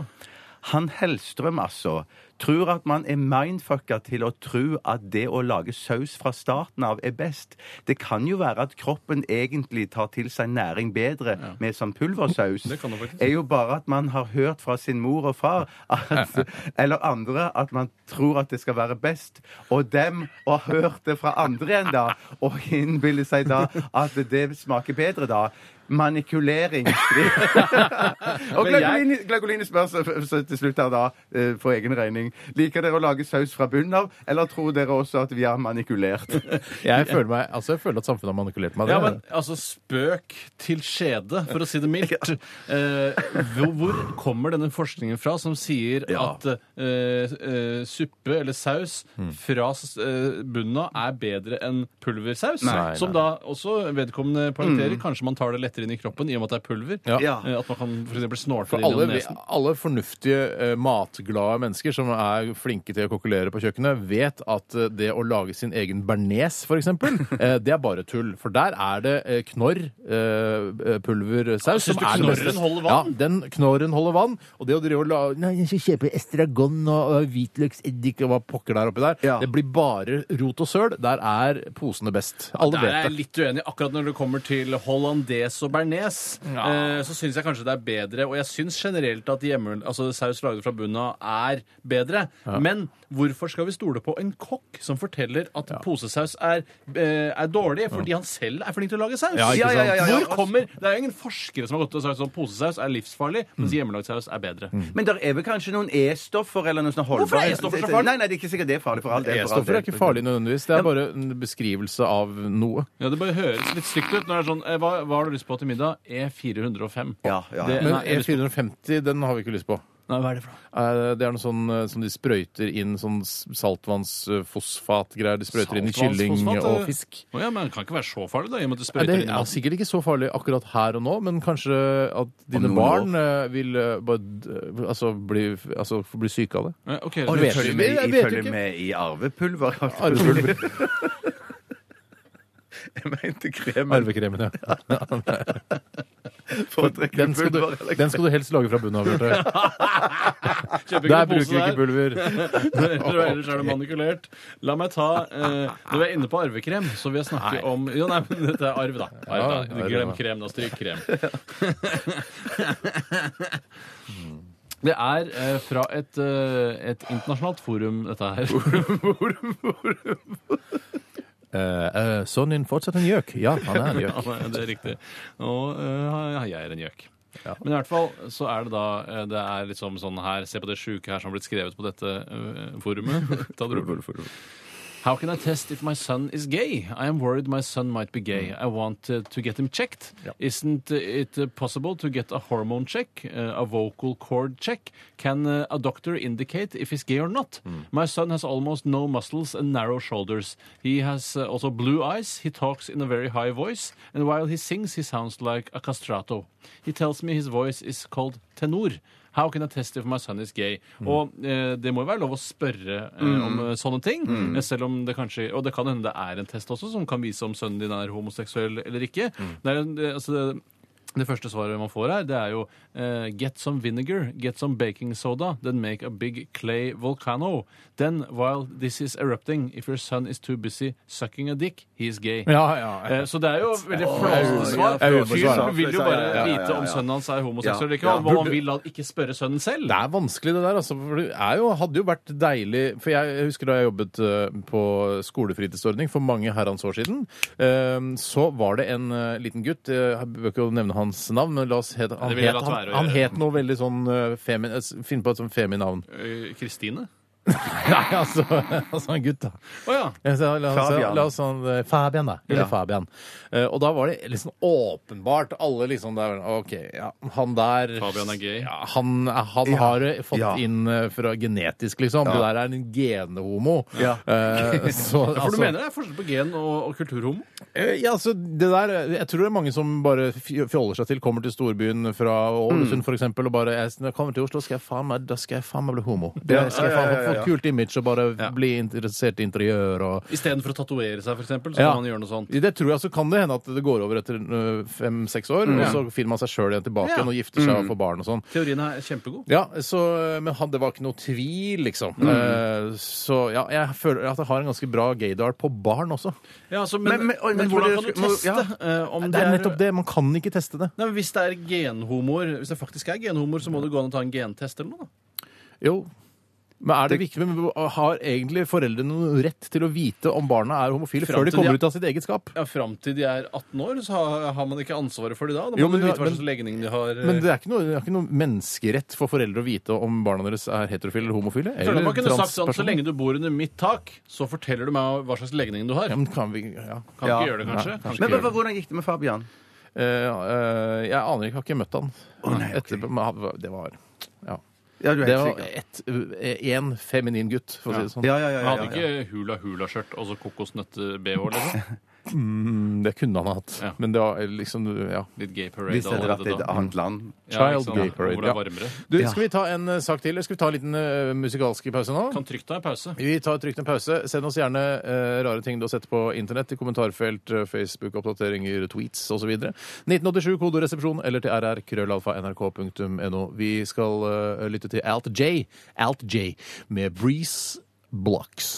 Han Hellstrøm, altså, tror at man er mindfucka til å tro at det å lage saus fra starten av er best. Det kan jo være at kroppen egentlig tar til seg næring bedre med sånn pulversaus. Det kan det faktisk. er jo bare at man har hørt fra sin mor og far at, eller andre at man tror at det skal være best, og dem har hørt det fra andre igjen da, og innbiller seg da at det smaker bedre da. Manikulering. Og Men jeg- Glagolini, Glagolini spør så, så til slutt her da, eh, for egen regning. Liker dere å lage saus fra bunnen av, eller tror dere også at vi er manipulert? Jeg føler, meg, altså, jeg føler at samfunnet har manipulert meg. Det Ja, er men det. altså spøk til skjede, for å si det mildt. Eh, hvor, hvor kommer denne forskningen fra som sier Ja. at eh, eh, suppe eller saus Hmm. fra s- eh, bunnen av er bedre enn pulversaus? Nei, nei. Hmm. som da også vedkommende poengterer. Kanskje man tar det lettere inn i kroppen i og med at det er pulver? Ja. Ja. Eh, at man kan for eksempel snorte For det innom alle, nesen? alle fornuftige, eh, matglade mennesker som er flinke til å kokkelere på kjøkkenet, vet at eh, det å lage sin egen bearnés, for eksempel, eh, det er bare tull. For der er det eh, knorr, eh, pulversaus, som Syns du er det beste. knorren holder vann? Ja, den knorren holder vann. Og det å drive og la Nei, jeg skal kjøpe estragon og og hvitløkseddik og hva pokker der oppi der, Ja. det blir bare rot og søl. Der er posene best. Alle Der er vet jeg det. litt uenig. Akkurat når det kommer til hollandes og bearnés, eh, så syns jeg kanskje det er bedre. Og jeg syns generelt at hjemme, altså, saus laget fra bunnen av er bedre. Men hvorfor skal vi stole på en kokk som forteller at posesaus er, eh, er dårlig fordi han selv er flink til å lage saus? Ja, ikke sant? Hvor kommer, Det er jo ingen forskere som har gått og sagt sånn posesaus er livsfarlig, mens hjemmelagd saus er bedre. Men det er vel kanskje noen E-stoffer eller noe sånt holdbart? Hvorfor er E-stoffer så farlig? Nei, nei, det er ikke sikkert det er farlig for all del. for all E-stoffer er del. ikke farlig nødvendigvis. Det er bare en beskrivelse av noe. Ja, Det bare høres litt stygt ut. når det er sånn, eh, Hva, hva har du lyst på til middag? E E405. Ja, ja, ja. Men Det- Eh, nei, jeg har lyst på- E450, den har vi ikke lyst på. E Nei, hva er det for noe? Eh, Det er noe sånn eh, som de sprøyter inn, sånn s- saltvannsfosfatgreier de sprøyter inn i kylling Saltvannsfosfat, og det- fisk. Å eh, ja, men det kan ikke være så farlig, da, i og med at du Nei, sprøyter Det inn i er masse- sikkert ikke så farlig akkurat her og nå, men kanskje at dine noen barn eh, vil eh, bare d- altså, bli, altså, bli syke av det. Ja, ok, Og du- vet- Følger Jeg med, vet jeg jo følger ikke. med i arvepulver. Arvepulver. Jeg mente krem. Arvekremen, ja. Foretrekker Den du skal, du, pulver eller den skal du helst lage fra bunnen av. Bjarte. Der bruker vi kjøper noe pose ikke der. pulver. Eller ellers er det manikulert. La meg ta eh, Når vi er inne på arvekrem, så vil jeg snakke om Jo, nei, men dette er arv, da. Arv, Ja, da. arv, Glem ja. krem, da. Stryk krem. Det er eh, fra et, eh, et internasjonalt forum, dette her. Uh, sånn en fortsatt en gjøk. Ja, han er en Ja, gjøk. det er riktig. Og eh, jeg er en gjøk. Men i hvert fall så er det da eh, Det er liksom sånn her Se på det sjuke her som har blitt skrevet på dette eh, forumet. Ta det rolig. How can I test if my son is gay? I am worried my son might be gay. I want uh, to get him checked. Isn't it uh, possible to get a hormone check, uh, a vocal cord check? Can uh, a doctor indicate if he's gay or not? My son has almost no muscles and narrow shoulders. He has uh, also blue eyes. He talks in a very high voice, and while he sings, he sounds like a castrato. He tells me his voice is called tenor. How can I test if my son is gay? Og eh, det må jo være lov å spørre eh, om eh, sånne ting. eh, Selv om det kanskje Og det kan hende det er en test også som kan vise om sønnen din er homoseksuell eller ikke. Det, er, en- det- altså, det, det første svaret man får her, det er jo eh, Get some vinegar, get some baking soda, then make a big clay volcano. Then, while this is erupting, if your son is too busy sucking a dick, he is gay. Ja, ja. Eh, Så det er jo veldig flåsete svar. jeg vil forsvare. Fyren vil jo Ja, bare ja, ja, ja, vite om ja. sønnen hans er homoseksuell eller ikke. Ja. og Hva han vil, han ikke spørre sønnen selv. Det er vanskelig, det der. Altså, for det er jo, hadde jo vært deilig For jeg, jeg husker da jeg jobbet eh, på skolefritidsordning for mange herrens år siden. eh, Så var det en eh, liten gutt eh, Jeg bør ikke nevne hans navn, men la oss het, han, det vil jeg het, la være han, å han gjøre. het noe veldig sånn eh, femin... eh, Finn på et sånn feminavn. Eh, Kristine? Nei, altså, altså en gutt, da. Å ja. Jeg sa, la, oss- Fabian. La oss sånn, eh, Fabian, da. Eller Fabian. Eh, og da var det liksom åpenbart Alle liksom der OK, ja, han der Fabian er gay. Ja, han han har eh, fått Ja. inn eh, fra genetisk, liksom. Det der er en genhomo. Ja. Eh, så, For altså- du mener det er forskjell på gen og, og kulturhomo? Eh, Ja, altså, det der, jeg tror det er mange som bare fj- fjoller seg til, kommer til storbyen fra Mm. Ålesund for eksempel, og bare jeg, når jeg kommer til Oslo, skal jeg faen meg, da skal jeg faen meg bli homo. Da skal jeg faen meg få et kult image og bare bli interessert i interiør og Istedenfor å tatovere seg, for eksempel, så Ja. kan han gjøre noe sånt. det tror jeg, så kan det hende at det går over etter fem-seks år, og så finner man seg sjøl igjen tilbake Mm. Ja. Mm. igjen og gifter seg og får barn og sånn. Teorien er kjempegod. Ja, så, øh, Men han, det var ikke noe tvil, liksom. Mm. Eh, Så ja, jeg føler at jeg har en ganske bra gaydar på barn også. Ja, altså, men, men, Men- men- oi, men hvordan hvor kan det du skulle- teste må- eh, om Det er nettopp det. Man kan ikke teste det. Nei, men Hvis det er genhomoer, hvis det faktisk er genhomoer, så må det gå an å ta en gentest eller noe. da. Jo. Men er det viktig, men har egentlig foreldrene noen rett til å vite om barna er homofile Fram før de til de- kommer ut av sitt eget skap? Ja, Fram til de er 18 år, så har, har man ikke ansvaret for de da. Da må Jo, du men du vite har- hva men- slags legning de har. eh, Men det er ikke noe, det er ikke noe menneskerett for foreldre å vite om barna deres er heterofile eller homofile. Jeg føler Eller man kunne sagt sånn, Så transpersoner. lenge du bor under mitt tak, så forteller du meg hva slags legning du har. ja, men kan vi, ja. Kan Ja. ikke gjøre det, kanskje? Nei, kanskje Kan Men ikke hva- hva- hvordan gikk det med Fabian? Eh, eh, jeg aner ikke, jeg har ikke møtt han. nei, ok. Etterpå, men han- det var ja. Ja, du er Det helt var sikker. én feminin gutt, for å si det sånn. Ja, ja, ja, Han hadde ja, ja. ikke hula-hula-skjørt og så kokosnøtt-bh, liksom? Mm, Det kunne han hatt. Ja. Men det var liksom ja. Litt gay parade Hvis det hadde vært i et da. annet land. Ja, ikke Child sant? gay Hvor parade, det er ja. varmere. Du, Skal vi ta en eh, sak til? eller Skal vi ta en liten eh, musikalsk pause nå? Kan trygt ta en pause. Vi tar trygt en pause. Send oss gjerne eh, rare ting du har sett på internett i kommentarfelt, eh, Facebook-oppdateringer, tweets osv. 1987 kodoresepsjon eller til rrkrøllalfa.nrk.no. Vi skal eh, lytte til Alt J, Alt J med Breeze Blocks.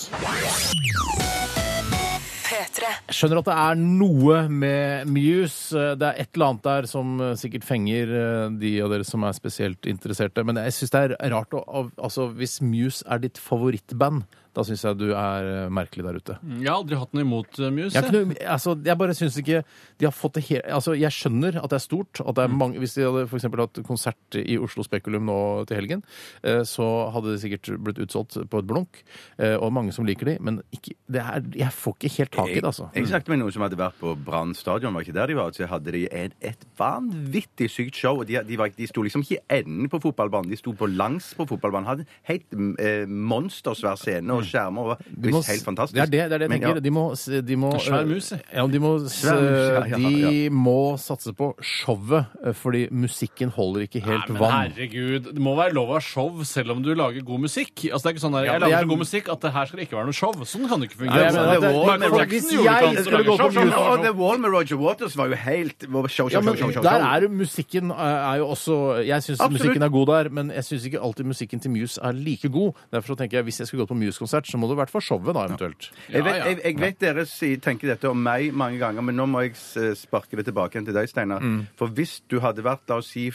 P3. Jeg skjønner at det er noe med Muse. Eh, Det er et eller annet der som sikkert fenger eh, de av dere som er spesielt interesserte. Men jeg syns det er rart å av- Altså, hvis Muse er ditt favorittband, da syns jeg du er eh, merkelig der ute. Jeg har aldri hatt noe imot eh, Muse. Jeg, har ikke noe, altså, jeg bare syns ikke de har fått det helt altså, Jeg skjønner at det er stort. At Mm. det er mange, hvis de hadde for eksempel hatt konsert i Oslo Spekulum nå til helgen, eh, så hadde det sikkert blitt utsolgt på et blunk. eh, Og mange som liker de, men ikke, det er, jeg får ikke helt tak i det, altså. Jeg snakket med noen som hadde vært på Brann stadion, var ikke der de var? Så hadde de et, et vanvittig sykt show. og De, de, var, ikke- de sto liksom ikke i enden på fotballbanen, de sto på langs på fotballbanen. Hadde en helt mm, eh, monstersvær scene og skjermer. Og, De det må var s- helt fantastisk. Det er det, det, er det jeg Men tenker. De må, s- de må Svær eh, mus, jeg. Ja, de må, s- Svær mus, ja, ja, de ja. må satse på showet, eh, fordi musikken holder ikke helt Nei, men vann. herregud, det må være lov av show selv om du lager god musikk. Altså, det er ikke sånn der, Jeg lager jeg- så god musikk at det her skal det ikke være noe show. Sånn kan det Nei, ikke fungere. jeg mener at det- Michael for- Jackson hvis gjorde ikke jeg annet enn å skulle lage gå på show, show, Ja, Muse- show, og show. The Wall med Roger Waters var jo helt var show, show, Ja, men show, show, show, der show. er det musikken eh, er jo også Jeg syns Absolutt. musikken er god der, men jeg syns ikke alltid musikken til Muse er like god. Derfor så tenker jeg hvis jeg skulle gått på Muse-konsert, så må det vært for showet, da, eventuelt. Jeg vet, ja. jeg, jeg vet dere sier, tenker dette om meg mange ganger, men nå må jeg s- sparke det tilbake igjen til deg, Steinar. Mm. For hvis du hadde vært la oss si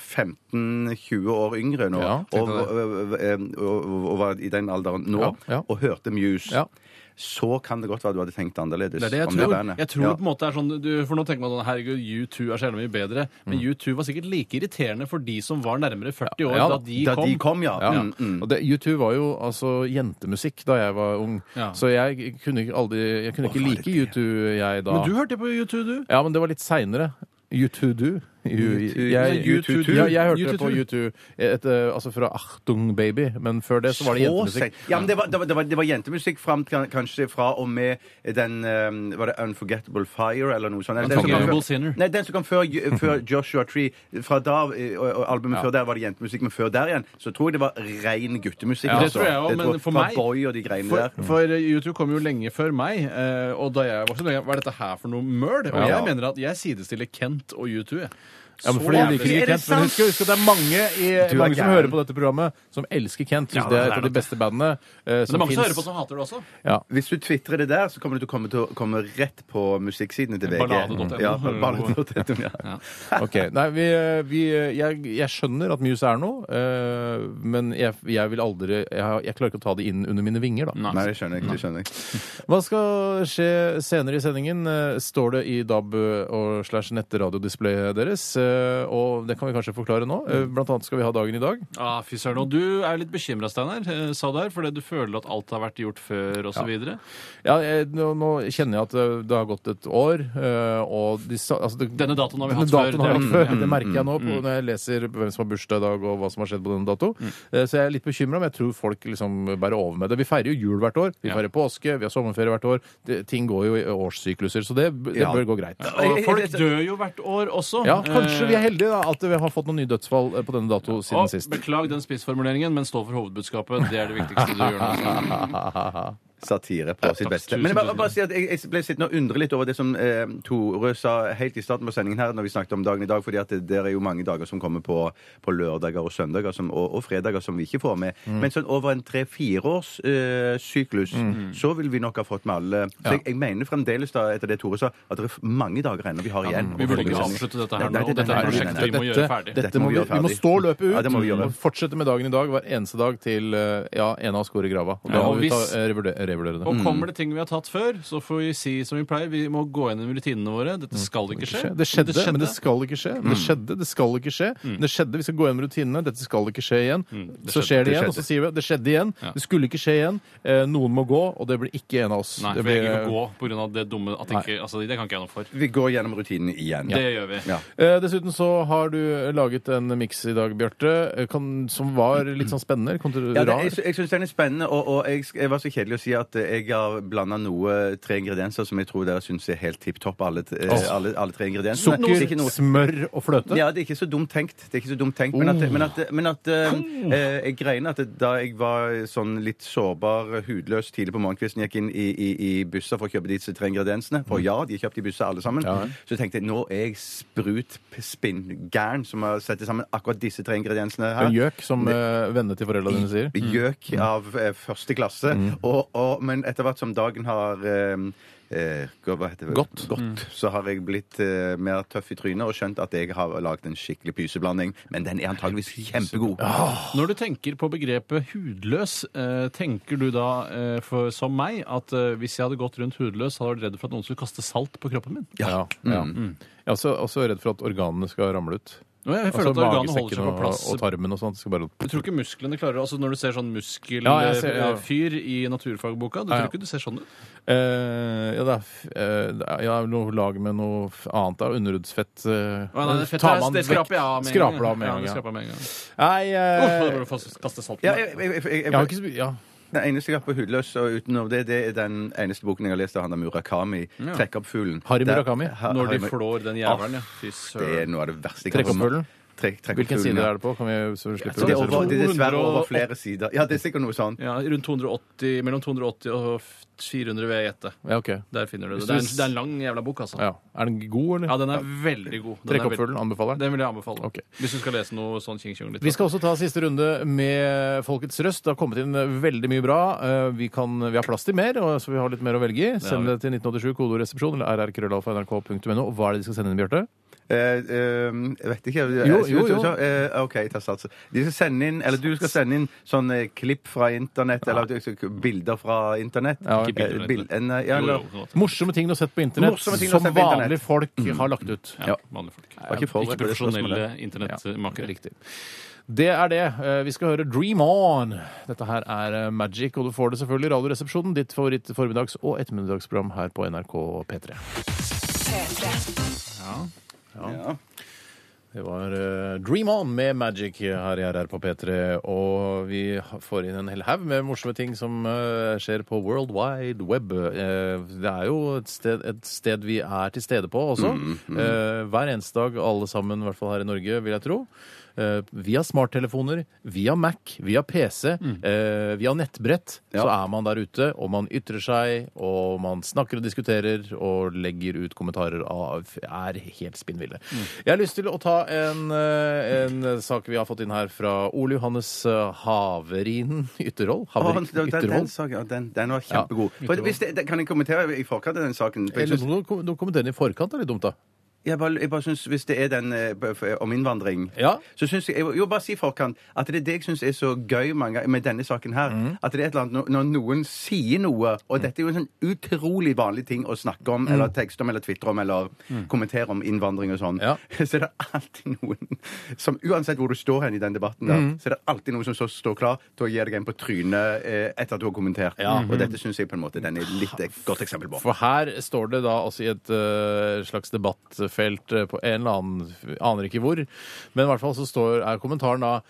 15-20 år yngre nå, Ja, og, tenkte og, og, og var i den alderen nå, Ja, ja. og hørte Muse, Ja. så kan det godt være du hadde tenkt annerledes. Det er det jeg om det tror. bandet. Jeg tror Ja. på en måte er sånn, du, for Nå tenker man sånn Herregud, U2 er så jævlig mye bedre. Mm. Men U2 var sikkert like irriterende for de som var nærmere 40 år Ja, da de Da kom. de kom, ja. Ja. Mm, mm. Og det, U2 var jo altså jentemusikk da jeg var ung, Ja. så jeg kunne ikke, aldri, jeg kunne ikke var det like U2 jeg da. Men du hørte på U2, du? Ja, men det var litt seinere. U2 Du. U2, jeg, U2. Nei, U2 Du. Ja, jeg hørte U2 på U2 et, eh, altså fra Achtung Baby, men før det så var det Så jentemusikk. sent. Ja, men det var, det var, det var, det var jentemusikk fram til kan- kanskje fra og med den eh, Var det Unforgettable Fire eller noe sånt? Eller den som kom Unforgettable før- Sinner. Nei, den som kom før, før Joshua Tree. Fra da, eh, og, og albumet før der var det jentemusikk, men før der igjen så tror jeg det var ren guttemusikk. Ja, det altså. tror jeg også, Det men tror- for fra meg- Boy og de greiene For, der. for U2 kom jo lenge før meg, eh, og da jeg var så lenge, hva er dette her for noe møl? Og Ja. jeg mener at jeg sidestiller Kent og U2. jeg. Ja, men Så fordi jeg jævlig. liker ikke Er det Kent, men sant? husk, husk at det er mange, i, er mange som gæren. hører på dette programmet, som elsker Kent. Synes det er et av de beste bandene eh, Men det er som mange som hører på sånn. fins. som hater det også. Ja. Hvis du tvitrer det der, så kommer du til å komme, til å komme rett på musikksidene til VG. Ballade.no. Ja, ballade.no, ja. Ok, Nei, vi, eh, vi, jeg, jeg skjønner at Muse er noe, eh, men jeg, jeg vil aldri jeg, har- jeg klarer ikke å ta det inn under mine vinger, da. Nei, det skjønner jeg. Det skjønner jeg. Hva skal skje senere i sendingen, eh, står det i DAB og slash nettradiodisplayet deres. eh, Og det kan vi kanskje forklare nå. Eh, Blant annet skal vi ha dagen i dag. Ah, fy søren. Og du er jo litt bekymra, Steinar, eh, sa du her, fordi du føler at alt har vært gjort før, osv. videre Ja, jeg, nå, nå kjenner jeg at det, det har gått et år, eh, og de, sa- altså, det, Denne datoen har vi Denne hatt før. Mm, datoen har jeg hatt før. Det merker jeg nå på, når jeg leser hvem som har bursdag i dag, og hva som har skjedd på denne dato. Eh, Så jeg er litt bekymra, men jeg tror folk liksom bærer over med det. Vi feirer jo jul hvert år, vi Ja. feirer påske, vi har sommerferie hvert år. Det, ting går jo i årssykluser, så det, det Ja. bør gå greit. Og folk dør jo hvert år også. Ja, kanskje vi er heldige da, at vi har fått noen nye dødsfall eh, på denne dato Eh, og siden sist. Beklag den spissformuleringen, men stå for hovedbudskapet. Det er det viktigste du gjør nå. satire på sitt takk. beste. Tusen, Men jeg, bare, tusen. bare si at jeg, jeg ble sittende og undre litt over det som eh, Tore sa helt i starten på sendingen her, når vi snakket om dagen i dag, fordi at det, det er jo mange dager som kommer på, på lørdager og søndager som, og, og fredager som vi ikke får med. Mm. Men sånn over en tre-fire års eh, syklus, Mm. så vil vi nok ha fått med alle. Så jeg, jeg mener fremdeles da, etter det Tore sa, at det er mange dager ennå vi har igjen. Vi burde ikke Nei, avslutte dette her nei, nå. nei, nei, Dette nei, er nei, prosjektet nei, vi må nei. gjøre ferdig. Dette må vi, vi må stå løpet ut Ja, det må vi gjøre. og fortsette med dagen i dag hver eneste dag til eh, ja, en av oss går i grava. Og da Ja, og må vi ta, hvis- eh, revurder- revurdere det. Og kommer det ting vi har tatt før, så får vi si som vi pleier. Vi må gå gjennom rutinene våre. Dette skal ikke skje. Mm. Det skjedde, men det skal ikke skje. Mm. Det skjedde, det skal ikke skje. Det skjedde, Vi skal gå gjennom rutinene. Dette skal ikke skje igjen. Mm. så skjer det, Det igjen, skjedde. og så sier vi det skjedde igjen. Ja. Det skulle ikke skje igjen. Eh, noen må gå, og det blir ikke en av oss. Nei, det for jeg blir, gidder ikke å gå på grunn av det dumme at ikke, altså, Det kan ikke jeg noe for. Vi går gjennom rutinen igjen. Det gjør vi. Ja. Eh, Dessuten så har du laget en miks i dag, Bjarte, eh, kan- som var litt sånn spennende. Kom til Ja, det, rar. jeg, sy- jeg syns den er spennende, og, og jeg, sk- jeg var så kjedelig å si at eh, jeg har blanda noe eh, tre ingredienser som jeg tror dere syns er helt tipp topp, alle, t- eh, alle, alle tre ingrediensene. Det Sukker, er ikke noe- smør og fløte. ja, det er ikke så dumt tenkt. Det er ikke så dumt tenkt Men at, Oh. men at, men at eh, eh, jeg greier at da jeg var sånn litt sårbar, hudløs tidlig på morgenkvisten, gikk inn i, i, i busser for å kjøpe disse tre ingrediensene Mm. For ja, de er kjøpt i busser alle sammen. Så tenkte jeg nå er jeg sprut p- spinngæren som har satt sammen akkurat disse tre ingrediensene her. En gjøk, som uh, vennene til foreldrene dine sier. Mm. Gjøk av eh, første klasse. Og, og, men etter hvert som dagen har eh, eh, hva heter det? Godt. Så har jeg blitt eh, mer tøff i trynet og skjønt at jeg har lagd en skikkelig pyseblanding. Men den er antageligvis kjempegod. Ah. Når du tenker på begrepet hudløs, eh, tenker du da eh, for, som meg at eh, hvis jeg hadde gått rundt hudløs, hadde jeg vært redd for at noen skulle kaste salt på kroppen min? Ja. Mm. ja. Mm. Jeg er også, også redd for at organene skal ramle ut. Nå, jeg føler Altså at organet holder seg magesekken på plass. Og, og tarmen og sånt. Skal bare... Du tror ikke musklene klarer Altså Når du ser sånn muskelfyr Ja, jeg ser- ja. i naturfagboka, du Ja, ja. tror ikke du ser sånn ut? Eh, ja, det er, f- eh, det er ja, noe lag med noe f- annet. Da. Underhudsfett. eh, Å, nei, det, fettet, tar er- man det vekk- skraper jeg av med en Skraper gang. det av med en Ja, det gang. skraper jeg med en gang. Nei, eh, Uff, da burde du kaste salt på Ja, meg. jeg, jeg, jeg, jeg, jeg har ikke så mye ja. Den eneste jeg har på hudløs, og utenom det, det er den eneste boken jeg har lest av han av Murakami. Trekk opp fuglen. Harry Der- Murakami? Ha- Når Harry de Mur- flår den Åh, jævelen, ja. Fy Det er søren. noe av det verste jeg Trekk kan- opp fuglen? Trekk, trekk opp Hvilken fuglen, side ja. er det på? Kan vi, så vi slipper tror det det er, er over, det er dessverre over 208. flere sider. Ja, det er sikkert noe sånt. Ja, rundt 280, mellom 280 og 400, vil jeg gjette. Ja, ok. Der finner du det. Hvis Det er en, du- det er en lang jævla bok, altså. Ja. Er den god, eller? Ja, den er veldig god. Den Trekk er opp fuglen, anbefaler den. Den vil jeg anbefale. Ok. Hvis du skal lese noe sånn tjing-tjong litt. Vi skal også ta siste runde med Folkets røst. Det har kommet inn veldig mye bra. Eh, Vi, kan, vi har plass til mer, og så vi har litt mer å velge i. Send det til 1987, kodoresepsjon eller rrkrøllalfa.nrk.no. Og Hva er det de skal sende inn, Bjarte? Eh, eh, jeg vet ikke Jo, jo, jo. Eh, OK, jeg tar sats. De skal sende inn, eller du skal sende inn sånne klipp fra internett, eller du skal- bilder fra internett. Ja, Ikke bilder, Eh, bild- eh, nei, ja, Jo, eller, jo, på en måte. Morsomme ting du har sett på internett Morsomme ting du har som sett på internett. Mm. vanlige folk har lagt ut. Ja, vanlige folk. ikke forberedt Ikke på det profesjonelle spørsmålet. internettmakere. Riktig. Det er det. Eh, Vi skal høre Dream On. Dette her er eh, Magic, og du får det selvfølgelig i Radioresepsjonen, ditt favoritt formiddags- og ettermiddagsprogram her på NRK P3. P3. ja. Det var eh, Dream On med Magic her i RR på P3. Og vi ha- får inn en hel haug med morsomme ting som eh, skjer på World Wide Web. Eh, det er jo et sted, et sted vi er til stede på også. Eh, hver eneste dag, alle sammen, i hvert fall her i Norge, vil jeg tro. Eh, via smarttelefoner, via Mac, via PC, Mm. eh, via nettbrett, så er man der ute, og man ytrer seg, og man snakker og diskuterer, og legger ut kommentarer av er helt spinnville. Mm. Jeg har lyst til å ta en, eh, en sak vi har fått inn her fra Ole Johannes eh, Haverin Ytterhold. Å, Haverin, den, den, den, den, Ytterhold. saken, ja, den, den var kjempegod. For Yttervold. hvis det, det, kan jeg kommentere i forkant av den saken? For jeg Eller synes- du kom- du kommenterer den i forkant, det er litt dumt, da. Jeg bare, jeg bare synes, Hvis det er den eh, b- f- om innvandring Ja. så synes jeg, jeg Jo, bare si i forkant at det er det jeg syns er så gøy mange, ganger med denne saken her. At det er et eller annet når- når noen sier noe Og dette er jo en sånn utrolig vanlig ting å snakke om, eller tekste om, eller tvitre om, eller kommentere om innvandring og sånn. Ja. Så er det alltid noen som Uansett hvor du står hen i den debatten, der, så er det alltid noen som så står klar til å gi deg en på trynet eh, etter at du har kommentert. Og dette syns jeg på en måte den er litt et godt eksempel på. For her står det da altså i et eh, slags debattfelt eh, på en eller annen Aner ikke hvor. Men i hvert fall så står, er kommentaren da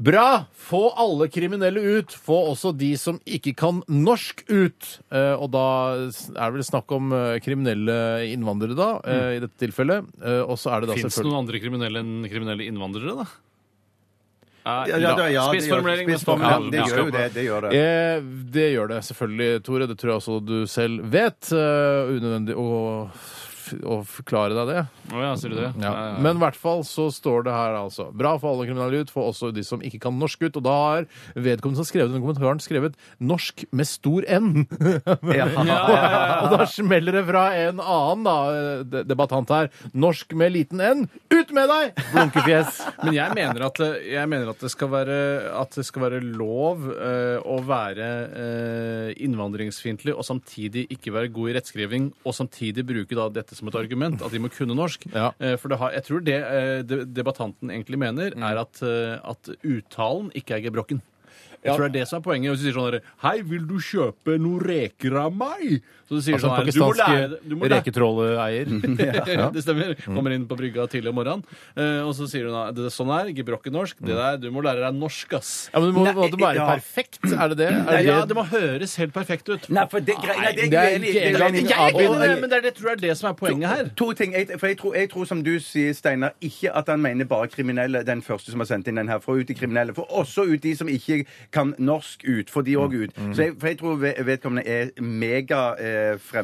Bra! Få alle kriminelle ut! Få også de som ikke kan norsk, ut! Eh, og da er det vel snakk om eh, kriminelle innvandrere, da, eh, i dette tilfellet. Eh, og så er det da Fins Mm. det selvfølgelig noen andre kriminelle enn kriminelle innvandrere, da? Eh, Ja, ja, det- ja, det gjør- Spissformulering. men spissformulering, stopp. Det gjør jo det. det, gjør det. Eh, det gjør det selvfølgelig, Tore. Det tror jeg også du selv vet. Eh, unødvendig å, å forklare deg det. Å ja, sier du det? Ja. Ja, ja, ja. Men i hvert fall så står det her altså Bra for alle kriminelle ut, for også de som ikke kan norsk ut. Og da har vedkommende som har skrevet denne kommentaren, skrevet 'norsk med stor N'. og da smeller det fra en annen da, de- debattant her. 'Norsk med liten N'. Ut med deg! Blunkefjes. Men jeg mener at, eh, jeg mener at, det, skal være, at det skal være lov eh, å være eh, innvandringsfiendtlig og samtidig ikke være god i rettskriving, og samtidig bruke da dette som et argument, at de må kunne norsk. Ja. Eh, for det har, jeg tror det eh, de- debattanten egentlig mener, Mm. er at, eh, at uttalen ikke er gebrokken. Jeg tror det er det som er poenget. Hvis du sier sånn der, Hei, vil du kjøpe noen reker av meg? Så du sier Altså sånn den her, du må lære, pakistanske du må lære reketråleier. det stemmer. Mm. Kommer inn på brygga tidlig om morgenen, eh, og så sier hun at det er sånn her, gebrokken norsk. Det der, du må lære deg norsk, ass. Mm. Ja, men det må, Nei, må det være ja. perfekt? Er det det? Er Nei, det, ja, det må høres helt perfekt ut. Nei, for det, grei- nei, det det er er jeg ikke uenig i. Det er jeg engang- uenig i. Jeg er enig i det, men- men det er det, tror jeg er det som er poenget her. To ting. Jeg, for jeg tror, jeg tror, som du sier, Steinar, ikke at han mener bare kriminelle, den første som har sendt inn den her. For ut de kriminelle. For også ut de som ikke kan norsk ut, får de òg ut. Så jeg, for jeg tror ve- vedkommende er mega eh,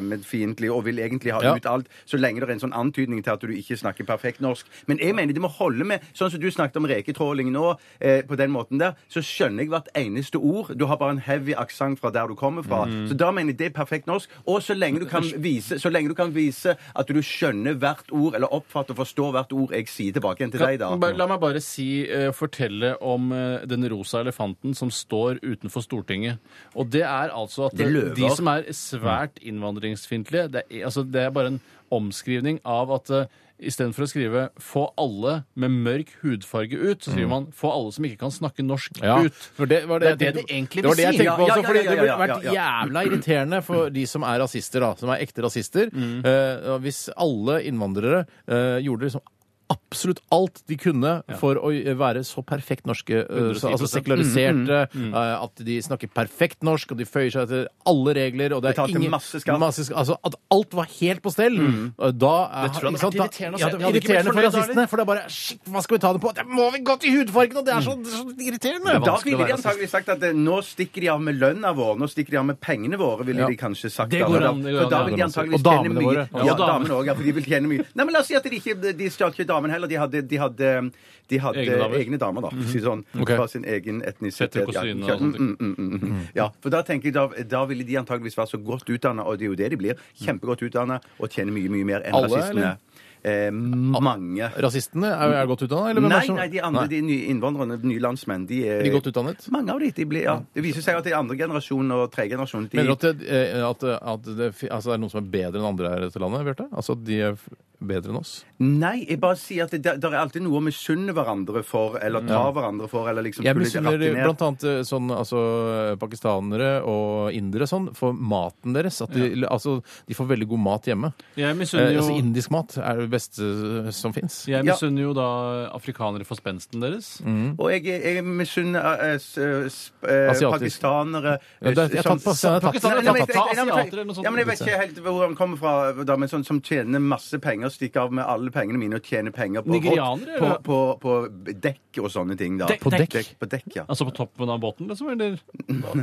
fremmedfiendtlig og vil egentlig ha Ja. ut alt, så lenge det er en sånn antydning til at du ikke snakker perfekt norsk. Men jeg mener det må holde med Sånn som du snakket om reketråling nå, eh, på den måten der, så skjønner jeg hvert eneste ord. Du har bare en heavy aksent fra der du kommer fra. Mm. Så da mener jeg det er perfekt norsk. Og så lenge, du kan vise, så lenge du kan vise at du skjønner hvert ord, eller oppfatter og forstår hvert ord jeg sier tilbake igjen til deg, da. Kan- bare- La meg bare si, eh, fortelle om eh, den rosa elefanten som står utenfor Stortinget. Og det er altså at Det er løver. de som er svært Mm. innvandringsfiendtlige det, er- altså, det er bare en omskrivning av at eh, Istedenfor å skrive 'få alle med mørk hudfarge ut', så skriver man 'få alle som ikke kan snakke norsk Mm. Ja, ut'. for det var det, Det er jeg det tenkte- det egentlig det var vil det jeg si. tenkte på Ja, også, ja, fordi ja, det ja, burde ja, vært ja, jævla irriterende for de som er rasister, da, som er ekte rasister. Mm. Eh, og hvis alle innvandrere eh, gjorde liksom absolutt alt de kunne for å være så perfekt norske, eh, så, altså 110%. sekulariserte, Mm, eh, at de snakker perfekt norsk, og de føyer seg etter alle regler, og det er Betalte ingen masse skatt. masse sk- altså at alt var helt på stell, eh, da er- Mm. Det tror jeg hadde ikke sant, vært da- irriterende ja, det var å se. Jeg hadde ikke blitt irriterende for fornøyd da, rasistene, for det er bare Shit, hva skal vi ta det på? Det må vi gå til hudfargen, og det er så, det er så irriterende! Det er Da vanskelig å ville de være rasist. antagelig sagt at eh, nå stikker de av med lønna vår, nå stikker de av med pengene våre, ville Ja. de kanskje sagt. Det går da. For da- an, det går for da an, ja. vil de antagelig Og tjene damene mye. våre. Ja, Ja, og damene. damene også, ja, for de vil tjene mye. Nei, men la oss si at de ikke de stjal ikke damene heller, de hadde, de hadde, de hadde Egne damer. Mhm. egne damer, da, for å si sånn, Ok. fra sin egen etnisitet. Fetter og Ja, kusiner ja, og sånne ting. mm, mm, mm, mm. Ja, for da tenker jeg da, da ville de antageligvis være så godt utdannet, og det er jo det de blir, kjempegodt utdannet, og tjene mye, mye mer enn Alle, rasistene. eller? Eh, mange. Rasistene er, er godt utdanna? eller hvem er Nei, som- nei, de andre, Nei. de nye innvandrerne, de nye landsmenn, de er Er de godt utdannet? mange av de, de blir, ja. Det viser seg at det er andre generasjon og tredje generasjon. De, Mener du at det, eh, at, at det, fi- altså, det er noen som er bedre enn andre her i dette landet, Bjarte? Altså at de er f- bedre enn oss? Nei, jeg bare sier at det der- der er alltid noe å misunne hverandre for, eller ta hverandre for, eller liksom Jeg skulle misunner rakke ned. blant annet eh, sånn, altså, eh, pakistanere og indere sånn, for maten deres. At de, altså, de får veldig god mat hjemme. Jeg misunner Eh, jo altså, indisk mat er det beste eh, som fins. jeg Ja. misunner jo da afrikanere for spensten deres. Og jeg, jeg misunner eh, s- eh, s- eh, Asiatisk. pakistanere Ja, eh, det- jeg har tatt på- jeg har tatt på- Nei, nei, men jeg- Ta jeg- nei, men jeg- asiater eller noe sånt. Ja, men Jeg vet ikke helt hvor han kommer fra, da, men sånn som tjener masse penger, stikker av med alle pengene mine og tjener penger på, Nigerianere, på, eller? på, på dekk og sånne ting. da. Dekk- På dekk? På dekk, ja. Altså på toppen av båten, liksom? Eller?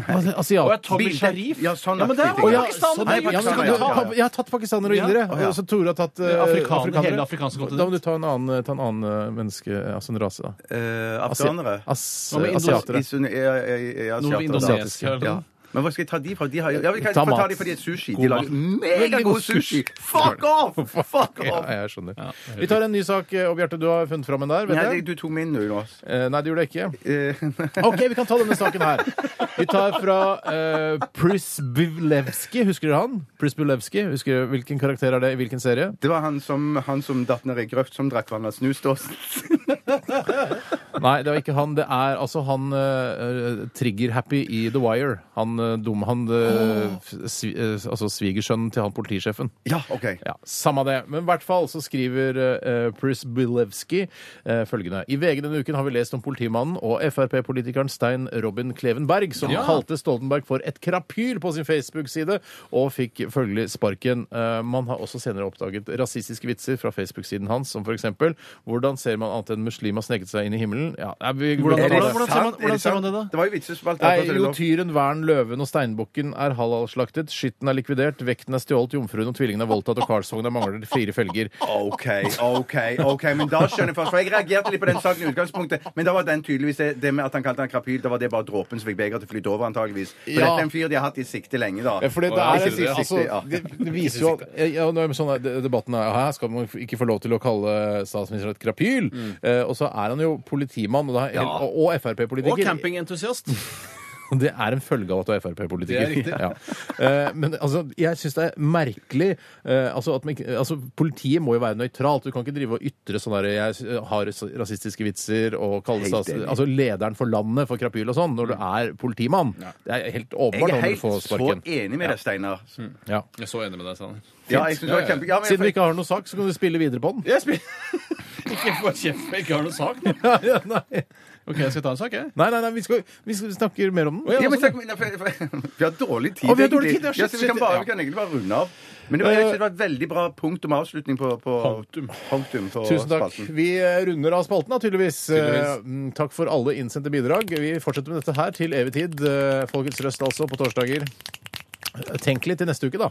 Altså, Og er asiat- Tommy Bildekk. Sharif? Ja, sånn men det er aktig jo ting, ja. pakistaner! Sånn er Ja, men skal pakistaner, du Ja, ta ja, ja. Jeg har tatt pakistanere og Ja. indere. Å, ja. Så Tore har tatt eh, Afrikaner, afrikanere. hele afrikanske kontinent. Da må du ta en annen, ta en annen eh, menneske, altså en rase, da. Eh, Asi- Afghanere. As- Hva med Indo- asiatere. Isun- ja, ja, ja, ja, Noe asiater, indonesisk da. eller Ja. noe? Men hva skal jeg ta de fra? De har, jo- ja, vi kan Ta ta, ta mat. de fordi det er sushi. God De lager mat. Veldig megagod god sushi! sushi. Fuck off! Fuck Ja, off! jeg skjønner. Vi tar en ny sak, eh, og Bjarte, du har funnet fram en der, vet Nei, jeg. det- du tok min nå, Jonas. Eh, Nei, du gjorde det ikke. Eh, OK, vi kan ta denne saken her. Vi tar fra uh, Prisbylevski. Husker dere han? Prisbylevski. Husker dere Hvilken karakter er det i hvilken serie? Det var han som, han som datt ned i grøft, som drakk vann av snusdåsen. Nei, det var ikke han. Det er altså han eh, Trigger-Happy i The Wire. Han eh, dum... Han eh, svi, eh, Altså svigersønnen til han politisjefen. Ja, OK. Ja, Samme det. Men i hvert fall så skriver uh, Prisbilevski eh, følgende. I VG denne uken har vi lest om politimannen og Frp-politikeren Stein Robin Kleven Berg, som kalte Stoltenberg for et krapyl på sin Facebook-side, og fikk følgelig sparken. Eh, man har også senere oppdaget rasistiske vitser fra Facebook-siden hans, som f.eks.: Hvordan ser man annet enn muslim har sneket seg inn i himmelen? Ja, nei, vi, Hvordan- vi- Er det hvordan- hvordan ser man- sant? Er hvordan ser man sant? det da? Det var jo vitsespalt. Nei, jo tyren, vern, løven og steinbukken er halalslaktet, skytten er likvidert, vekten er stjålet, jomfruen og tvillingen er voldtatt, og Karlsvogna mangler fire felger. OK, OK, ok, men da skjønner jeg først. For jeg reagerte litt på den saken i utgangspunktet. Men da var den tydeligvis det, det med at han kalte han krapyl, da var det bare dråpen som fikk begeret til å flyte over, antageligvis. For Ja. dette er en fyr de har hatt i sikte lenge, da. Ja, Fordi det Ja, er, ikke si altså, sikte, ja. det, det viser jo at ja, nå er det sånn her, de- Debatten er her skal man ikke få lov til å kalle statsministeren et krapyl. Eh, og så er han jo politimann og, da- og, og Og Frp-politiker. campingentusiast. Og Det er en følge av at du er Frp-politiker. Det er Ja. Eh, Men altså, jeg syns det er merkelig eh, altså, at man, ikke- altså, Politiet må jo være nøytralt. Du kan ikke drive og ytre sånn der Jeg s- har s- rasistiske vitser og kalle Helt stats... enig. Altså lederen for landet for krapyl og sånn, når du er politimann. Det er helt Jeg åpenbart er når du får helt så sparken. enig med deg, Steinar. Ja. Jeg er så enig med deg, Sanner. Ja, jeg synes det var kjempe... Ja, men Siden vi ikke har noen sak, så kan du spille videre på den. Jeg spiller Ikke få kjeft for jeg ikke har noen sak nå. Ja, ja, nei. OK, jeg skal ta en sak, jeg. Nei, nei, nei, vi, skal, vi skal snakker mer om den. Ja, men takk, men- nei, for- for- vi har dårlig tid, Å, vi har dårlig tid, ja, Eh, egentlig. Ja, så vi, shit, kan bare, shit, vi kan egentlig bare runde av. Men det var, jeg synes det var et veldig bra punkt om avslutning på, på Punktum. punktum på Tusen takk. spalten. Vi eh, runder av spalten, da, tydeligvis. Tydeligvis. Eh, mm, Takk for alle innsendte bidrag. Vi fortsetter med dette her til evig tid. Eh, Folkets røst altså, på torsdager. Tenk litt til neste uke, da.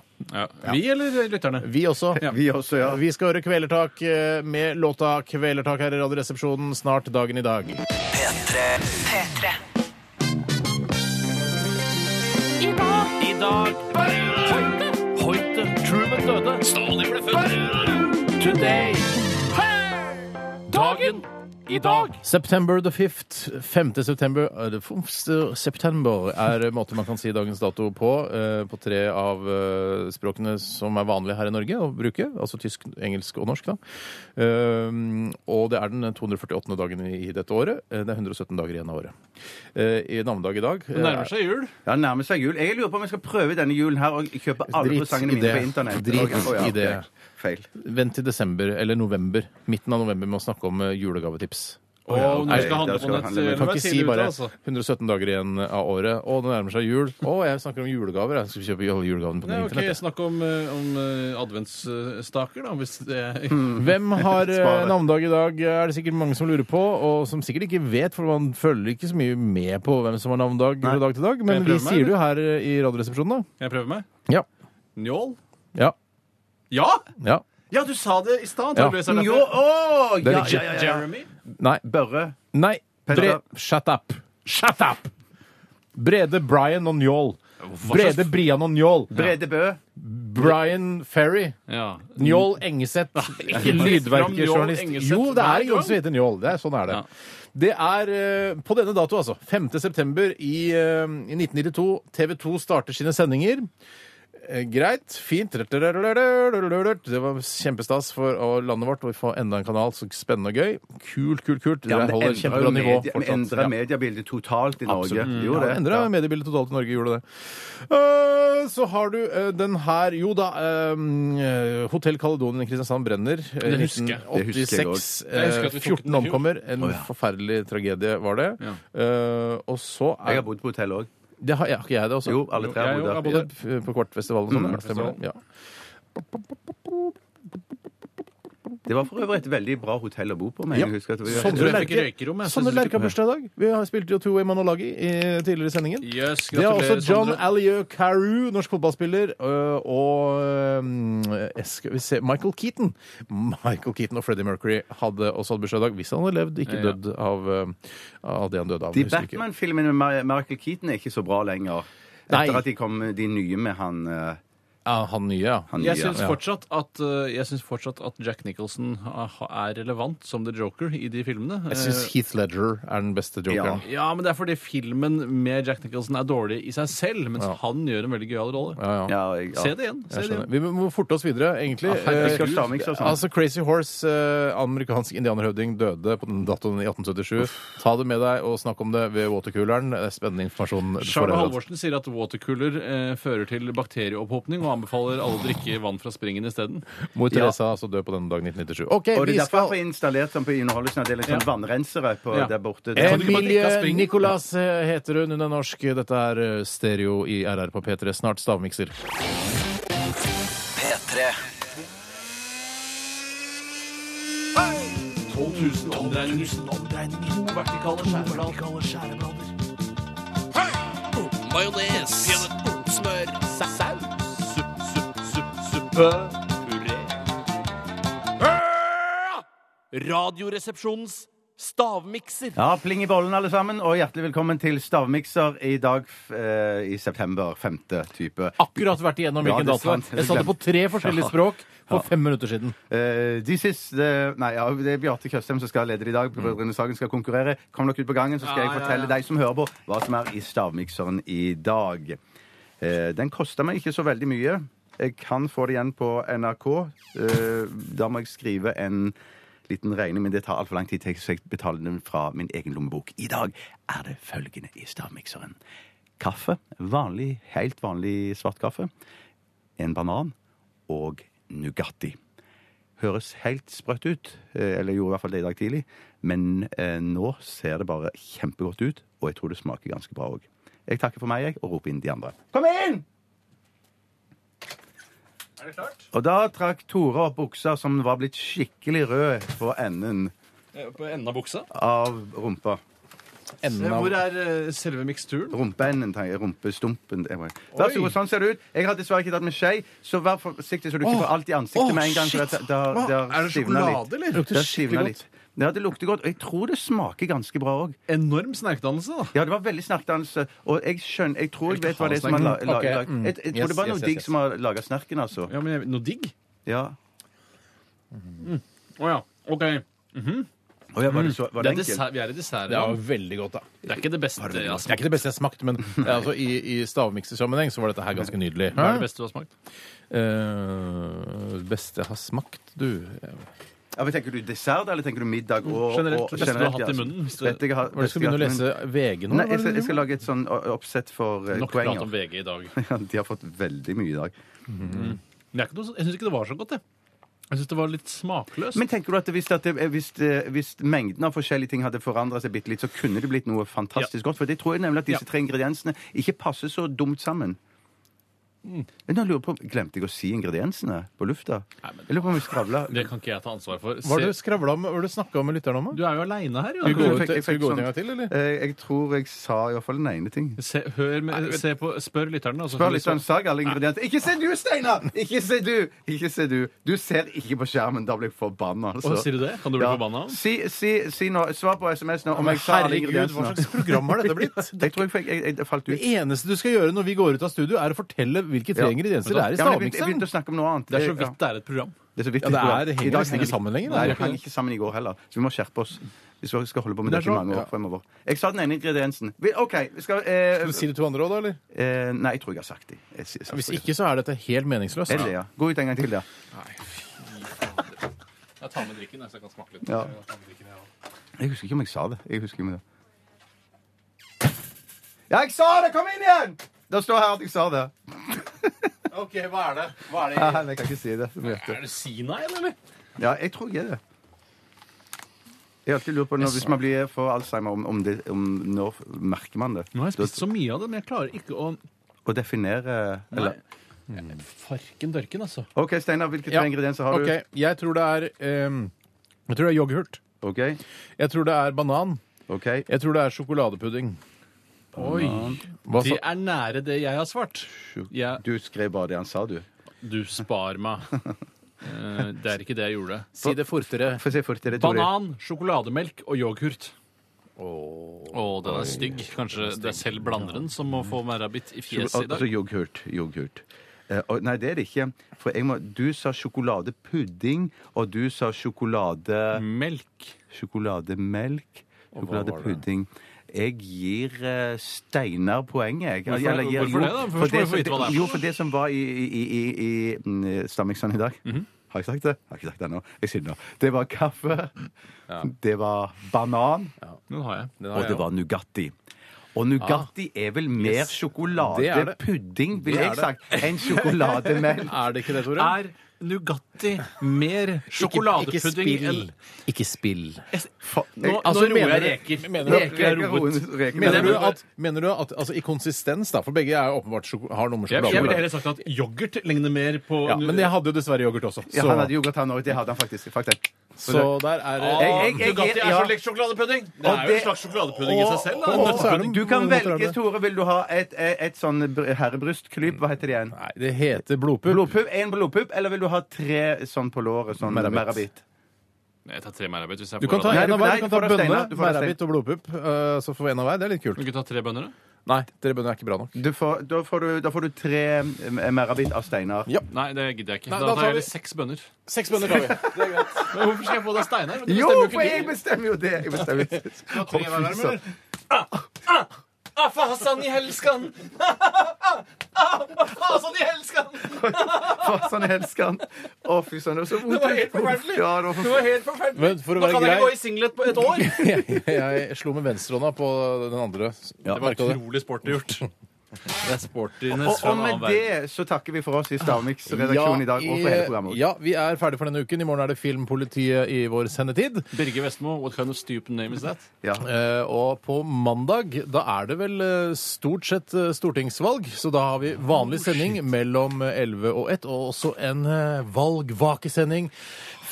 Vi eller lytterne? Vi også. Vi også, ja. Vi skal høre Kvelertak eh, med låta 'Kvelertak' her i Radioresepsjonen snart dagen i dag. P3. P3. I dag Hoite! Hoite! Truman døde. Stalin ble født. Today. Dagen i dag. September the 5th. 5. september eh, the 5th September er en måte man kan si dagens dato på. eh, På tre av eh, språkene som er vanlige her i Norge å bruke. Altså tysk, engelsk og norsk, da. Ehm, Og det er den 248. dagen i i dette året. Eh, Det er 117 dager igjen av året. Eh, I navnedag i dag eh, Det nærmer seg jul. Ja, nærmer seg jul. Jeg lurer på om jeg skal prøve denne julen her og kjøpe alle Drit i presangene mine det. på internett. Drit Ok, å, ja, i ok. det. Feil. eh, Vent til desember eller november. Midten av november med å snakke om eh, julegavetips. Og når du skal da handle skal på du nett, handle, men så du gjelder Du det å kan være ikke si tidlig ute, bare altså. 117 dager igjen av året. Å, det nærmer seg jul. Å, jeg snakker om julegaver. Jeg skal kjøpe alle julegavene på Nei, ok, internett. Snakk om, eh, om eh, adventsstaker, da, hvis det Hvem har eh, Spar det. navnedag i dag, er det sikkert mange som lurer på, og som sikkert ikke vet, for man følger ikke så mye med på hvem som har navnedag fra dag til dag. Men jeg vi prøve meg, sier det jo her eh, i Radioresepsjonen, da. Kan jeg prøve meg? Ja. Njål? Ja. Ja! Ja. Ja, du sa det i stad, Ja. tydeligvis. er det Jo, derfor. å, er ja, riktig. ja, ja, ja. Jeremy? Nei. Børre. Nei. Bre Petter. shut up. Shut up! Brede, Brian og Njål. Brede, Brian og Njål. Brede Bø. Brian Ferry. Ja. Njål Engeseth. ikke fram Njål Lydverkerjournalist. Engeseth Jo, det hver er gang. noen som heter Njål. Det er, sånn er det. Ja. Det er eh, på denne dato, altså. 5. september i, eh, i 1992. TV 2 starter sine sendinger. Eh, Greit, fint. Det var kjempestas for å- landet vårt å få enda en kanal. Så spennende og gøy. Kult, kult, kult. Dere holder jo kjempebra nivå. medie- men fortsatt. endrer mediebildet totalt i Norge. Absolutt. Mm. Det gjorde Ja, det. det endra Ja. mediebildet totalt i Norge, gjorde det. Eh, så har du eh, den her Jo da, uh, Hotell Caledonien i Kristiansand brenner. eh, Det husker jeg. Det husker 1986. jeg også. Jeg husker at vi eh, tok den 14 i fjor. omkommer. En forferdelig tragedie var det. Ja. Eh, og så Jeg er har bodd på hotell òg. det har, ja, har ikke jeg det også? Jo, alle tre har Jo, jeg bodd har der. bodd Ja, på Kvartfestivalen og sånn. ja, stemmer det. Kvartfestivalen. Ja. Det var for øvrig et veldig bra hotell å bo på. Men Ja. Sånn jeg husker at det var, Jeg tror Sondre jeg fikk røykerom, Lerche jeg. Sondre Synes Lerche ikke- har bursdag i dag. Vi har spilt jo Two Way Man og Lagi i- tidligere i sendingen. Yes, Det er også gratulerer, John Sondre. Alieu Carew, norsk fotballspiller, øh, og øh, jeg skal vi se, Michael Keaton. Michael Keaton og Freddie Mercury hadde også hatt bursdag i dag, hvis han hadde levd, ikke Ja. dødd av, øh, av det han døde av. De Jeg husker ikke. Batman-filmene med Mar- Michael Keaton er ikke så bra lenger. Nei. Etter at de kom de nye med han, eh, Ja, han nye, ja. han nye. Jeg syns Mm, Ja. fortsatt, at, eh, jeg synes fortsatt at Jack Nicholson ha- ha- er relevant som The Joker i de filmene. Jeg syns Eh, Heath Ledger er den beste jokeren. Ja. ja, men det er fordi filmen med Jack Nicholson er dårlig i seg selv, mens han gjør en veldig gøyal rolle. Ja, ja. Ja, jeg, ja. Se det igjen. Se Jeg det skjønner. igjen. Vi må forte oss videre, egentlig. Jeg Eh, skal stamme, ikke sant? Altså, Crazy Horse, eh, amerikansk indianerhøvding, døde på den datoen i 1877. Ta det med deg og snakk om det ved watercooleren. Det er Spennende informasjon. du får Charles her, altså. Halvorsen sier at watercooler eh, fører til bakterieopphopning, og anbefaler alle å drikke vann fra springen isteden. Mor Teresa altså død på denne dagen 1997. OK, Og det vi er derfor jeg skal får installert sånn på underholdelsesavdelingen Ja. sånn vannrensere på Ja. der borte. Kan du ikke bare drikke av Emilie springen? Nicolas eh, heter hun. Hun er norsk. Dette er eh, stereo i RR på P3. Snart stavmikser. P3. 12 000 omdreininger. To vertikale skjæreblader. Majones. Smør. Saus. Supp, supp, supp, suppe. Puré. Radioresepsjonens stavmikser. Ja, pling i bollen, alle sammen, og hjertelig velkommen til Stavmikser i dag f- eh, i september. Femte type. Akkurat vært igjennom Ja, hvilken det er dato det sant. er. Jeg sa det på tre forskjellige språk for fem minutter siden. Eh, de siste Nei, ja, det er Bjarte Tjøstheim som skal lede i dag. Brødrene Sagen skal konkurrere. Kom dere ut på gangen, så skal jeg fortelle deg som hører på, hva som er i stavmikseren i dag. Eh, den koster meg ikke så veldig mye. Jeg kan få det igjen på NRK. Eh, da må jeg skrive en liten regning, men det tar altfor lang tid til så jeg betaler den fra min egen lommebok. I dag er det følgende i stavmikseren. Kaffe. Vanlig, helt vanlig svart kaffe. En banan. Og Nugatti. høres helt sprøtt ut. eh, Eller gjorde i hvert fall det i dag tidlig. Men eh, nå ser det bare kjempegodt ut, og jeg tror det smaker ganske bra òg. Jeg takker for meg, jeg, og roper inn de andre. Kom inn! Er det klart? Og da trakk Tore opp buksa som var blitt skikkelig rød på enden Eh, På enden av buksa? av rumpa. Enden av Hvor er eh, selve miksturen? Rumpeenden, tenker jeg. Rumpestumpen. det var- Vær så Oi. god, sånn ser det ut. Jeg har dessverre ikke tatt med skje, så vær forsiktig så du ikke Åh. får alt i ansiktet Åh, med en gang. shit. For det, det, Hva? det, har Er det stivnet sjokolade, litt. eller? Det har Lukter skikkelig stivnet godt. litt. Ja, det lukter godt. Og jeg tror det smaker ganske bra òg. Enorm snerkdannelse, da. Ja, det var veldig snerkdannelse. Og jeg skjønner Jeg tror jeg vet hva det er som har la, la, Ok, la, mm. jeg, jeg tror det var Yes, noe yes, digg yes, som har laga snerken, altså. Ja, men jeg, Noe digg? Ja. Å ja. OK. Og ja, var det så Mm. Det var det er enkelt? dessert, vi er i dessert. Det Ja. var veldig godt, da. Det er ikke det beste altså. jeg Det er har smakt. ikke det beste jeg har smakt, men eh, altså, i, i stavmiksersammenheng så var dette her ganske nydelig. Hva er det beste du har smakt? Eh, beste jeg har smakt, du Ja, men tenker du dessert, eller tenker du middag Mm, og Generelt, og- det beste du har hatt i munnen, hvis du- Vet jeg Var har- det beste skal jeg har begynne å hatt i munnen. lese VG nå? Nei, jeg skal, jeg skal lage et sånn o- oppsett for eh, Nok prat om poenger. VG i dag. Ja, De har fått veldig mye i dag. Men det er ikke noe, så- jeg syns ikke det var så godt, jeg. Jeg syns det var litt smakløst. Men tenker du at hvis, at det- hvis, eh, hvis mengden av forskjellige ting hadde forandra seg bitte litt, så kunne det blitt noe fantastisk godt? For det tror jeg nemlig at disse Ja. tre ingrediensene ikke passer så dumt sammen. Mm. Men nå lurer jeg på, Glemte jeg å si ingrediensene på lufta? Jeg lurer på om vi skravla. det kan ikke jeg ta ansvar for. Var Se- det du skravla med, var det du snakka med lytterne om? Du er jo aleine her, Skal vi gå Jan. Jeg ut, fikk- skal vi jeg fikk gå ut en sånn- gang til, eller? Eh, Jeg tror jeg sa i hvert fall den ene ting. Se, hør med, se på, spør lytterne. og så Spør kan de litt svare. om sag, alle ingredienser. Ikke se du, Steinar! Ikke se du! Ikke se du. Du ser ikke på skjermen. Da blir jeg forbanna. altså. Å, sier du det? Kan du bli Ja. forbanna? Si, si, si nå, svar på SMS nå om jeg sa alle Herregud, hva ingrediensene. slags program har dette blitt? Jeg tror jeg, fikk- jeg, jeg, jeg falt Det ut. eneste du skal gjøre når vi går ut av studio, er å fortelle hvilke tre Ja. ingredienser det er i Ja, men jeg begynte, jeg begynte stavmikseren. å snakke om noe annet. Det er så Ja. vidt det er et program. Det er så vidt Ja, det jeg tror. er- det henger I dag nesten ikke sammen lenger, det Nei, er det jo hang ikke sammen i går heller. Så vi må skjerpe oss. Hvis vi skal holde på med Det er dette i så- mange ja. år fremover. Jeg sa den ene ingrediensen. Vi- OK, vi skal eh, Si det to andre også, da, eller? eh, Nei, jeg tror jeg har sagt det. Jeg, sier- Hvis ikke, så er dette helt meningsløst. Er det det, ja? Gå ut en gang til, da. Jeg tar med drikken, så jeg kan smake litt. Ja. Jeg husker ikke om jeg sa det. Jeg husker ikke om det. Ja, jeg sa det! Kom inn igjen! Det står her at jeg sa det. OK, hva er det? Hva er Nei, jeg kan ikke si det. som jeg heter. Er det Sinai, eller? Ja, jeg tror jeg er det. Jeg har alltid lurt på når, hvis man blir for alzheimer, om, om, det, om når merker man det? Nå har jeg spist så mye av det, men jeg klarer ikke å Å definere eller, Farken dørken, altså. OK, Steinar, hvilke tre Ja. ingredienser har Ok, Jeg tror det er ehm, Jeg tror det er yoghurt. du? OK. Jeg tror det er banan. ok. Jeg tror det er sjokoladepudding. Oi. Hva Det sa er nære det jeg har svart. Jeg, Du skrev bare det han sa, du. du spar meg. Eh, Det er ikke det jeg gjorde. Si det fortere. Få se fort. Er det Tore? Banan, sjokolademelk og yoghurt. Å, den er stygg. Kanskje det er selv blanderen som må få merrabitt i fjeset i Altså dag. yoghurt. Yoghurt. Eh, og- nei, det er det ikke. For jeg må, du sa sjokoladepudding, og du sa Mm. sjokolade... Melk. sjokolademelk. Sjokoladepudding. Jeg gir eh, Steinar poenget. jeg. Hvorfor- Eller gir- hvorfor jo, det da? Først for må jeg få som- vite hva det er. Jo, for det som var i, i, i, i, i mm, Stamikson i dag Mhm. Har jeg sagt det? Har ikke sagt det ennå. Jeg sier det nå. Det var kaffe, det var banan, Den har jeg. Ah. og det var Nugatti. Og Nugatti er vel mer er det. sjokoladepudding, ville Det er jeg sagt, enn sjokolademelk. Er det ikke det, Tore? Er Nugatti mer sjokoladepudding enn Ikke spill. Es- For- Nå, Altså, nå roer jeg mener- reker. mener du- Reker er roet. Reker- Mener Men du jeg mener- at, mener du at altså, I konsistens, da, for begge er jo åpenbart sjoko- har noe med Jeg, jeg ville sjokolade heller sagt at yoghurt ligner mer på ja, Men jeg hadde jo dessverre yoghurt også. Ja, han hadde Så, yoghurt, han òg. Det hadde han faktisk. faktisk. så der er det jeg- jeg- jeg- Nugatti er ja. så lik sjokoladepudding! Det Og er jo det- en slags sjokoladepudding i seg selv. og- Da. og- så er det Du kan noen måter å gjøre velge, det. Tore. Vil du ha et, et, et sånn br- herrebrystklyp? Hva heter det igjen? Nei, det heter blodpupp. Blodpupp? En blodpupp, eller vil du ha tre sånn på låret? Sånn Merabit. merabit. Jeg tar tre merrabitt hvis jeg Du kan ta Nei, en du- av hver. Du nei, kan du får ta det bønne, steina, du får det merrabitt og blodpupp. eh, Så får vi en av hver. Det er litt kult. Kan du ikke ta tre bønner, da? Nei, tre bønner er ikke bra nok. Du får, da, får du, da får du tre eh, merabit av Steinar. Ja. Nei, det gidder jeg ikke. Nei, da, da tar tar vi- jeg heller seks bønner. Seks bønner tar vi. Men hvorfor skal jeg få deg Steinar? Jo, for jeg bestemmer jo det! Jeg bestemmer jo det. tre hver, Å, fy søren. Afa Hassan i helskan! Afa Hassan i helskan! Faen, sånn elsker han. Å, fy søren, det var så vondt. var helt forferdelig. Ja, det var for... var helt forferdelig. Men for å være grei, singlet på et år! jeg, jeg slo med venstrehånda på den andre. Det var utrolig sporty gjort. Det er Og, sportiness fra og en annen med verden. det så takker vi for oss i Stavmiks-redaksjonen i dag og for hele programmet. eh, ja, vi er ferdig for denne uken. I morgen er det Filmpolitiet i vår sendetid. Birger Vestmo, what kind of stupid name is that? Ja. Eh, og på mandag da er det vel eh, stort sett eh, stortingsvalg, så da har vi vanlig Oh, sending mellom eh, 11 og 1, og også en eh, valgvakesending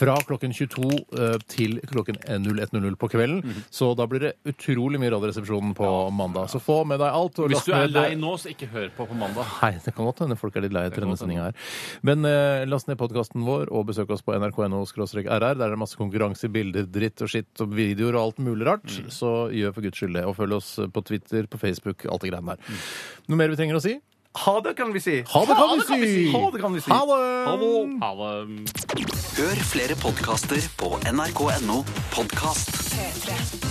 fra klokken 22 eh, til klokken 01.00 på kvelden. Mhm. Så da blir det utrolig mye Radioresepsjonen på mandag. Så få med deg alt. Og Hvis last du er ned- lei nå, så ikke hør på på mandag. Nei, det kan godt hende folk er litt lei etter kan denne godt sendinga hende. her. Men eh, last ned podkasten vår og besøk oss på nrk.no-rr. Der er det masse konkurranser, bilder, dritt og skitt og videoer og alt mulig rart. Så gjør for guds skyld det. Og følg oss eh, på Twitter, på Facebook, alt det greiene der. Noe mer vi trenger å si? Ha det, kan vi si! Ha det, kan vi vi si! Ha det, kan vi si! Ha det! Ha det. Hør flere podkaster på nrk.no podkast. P3.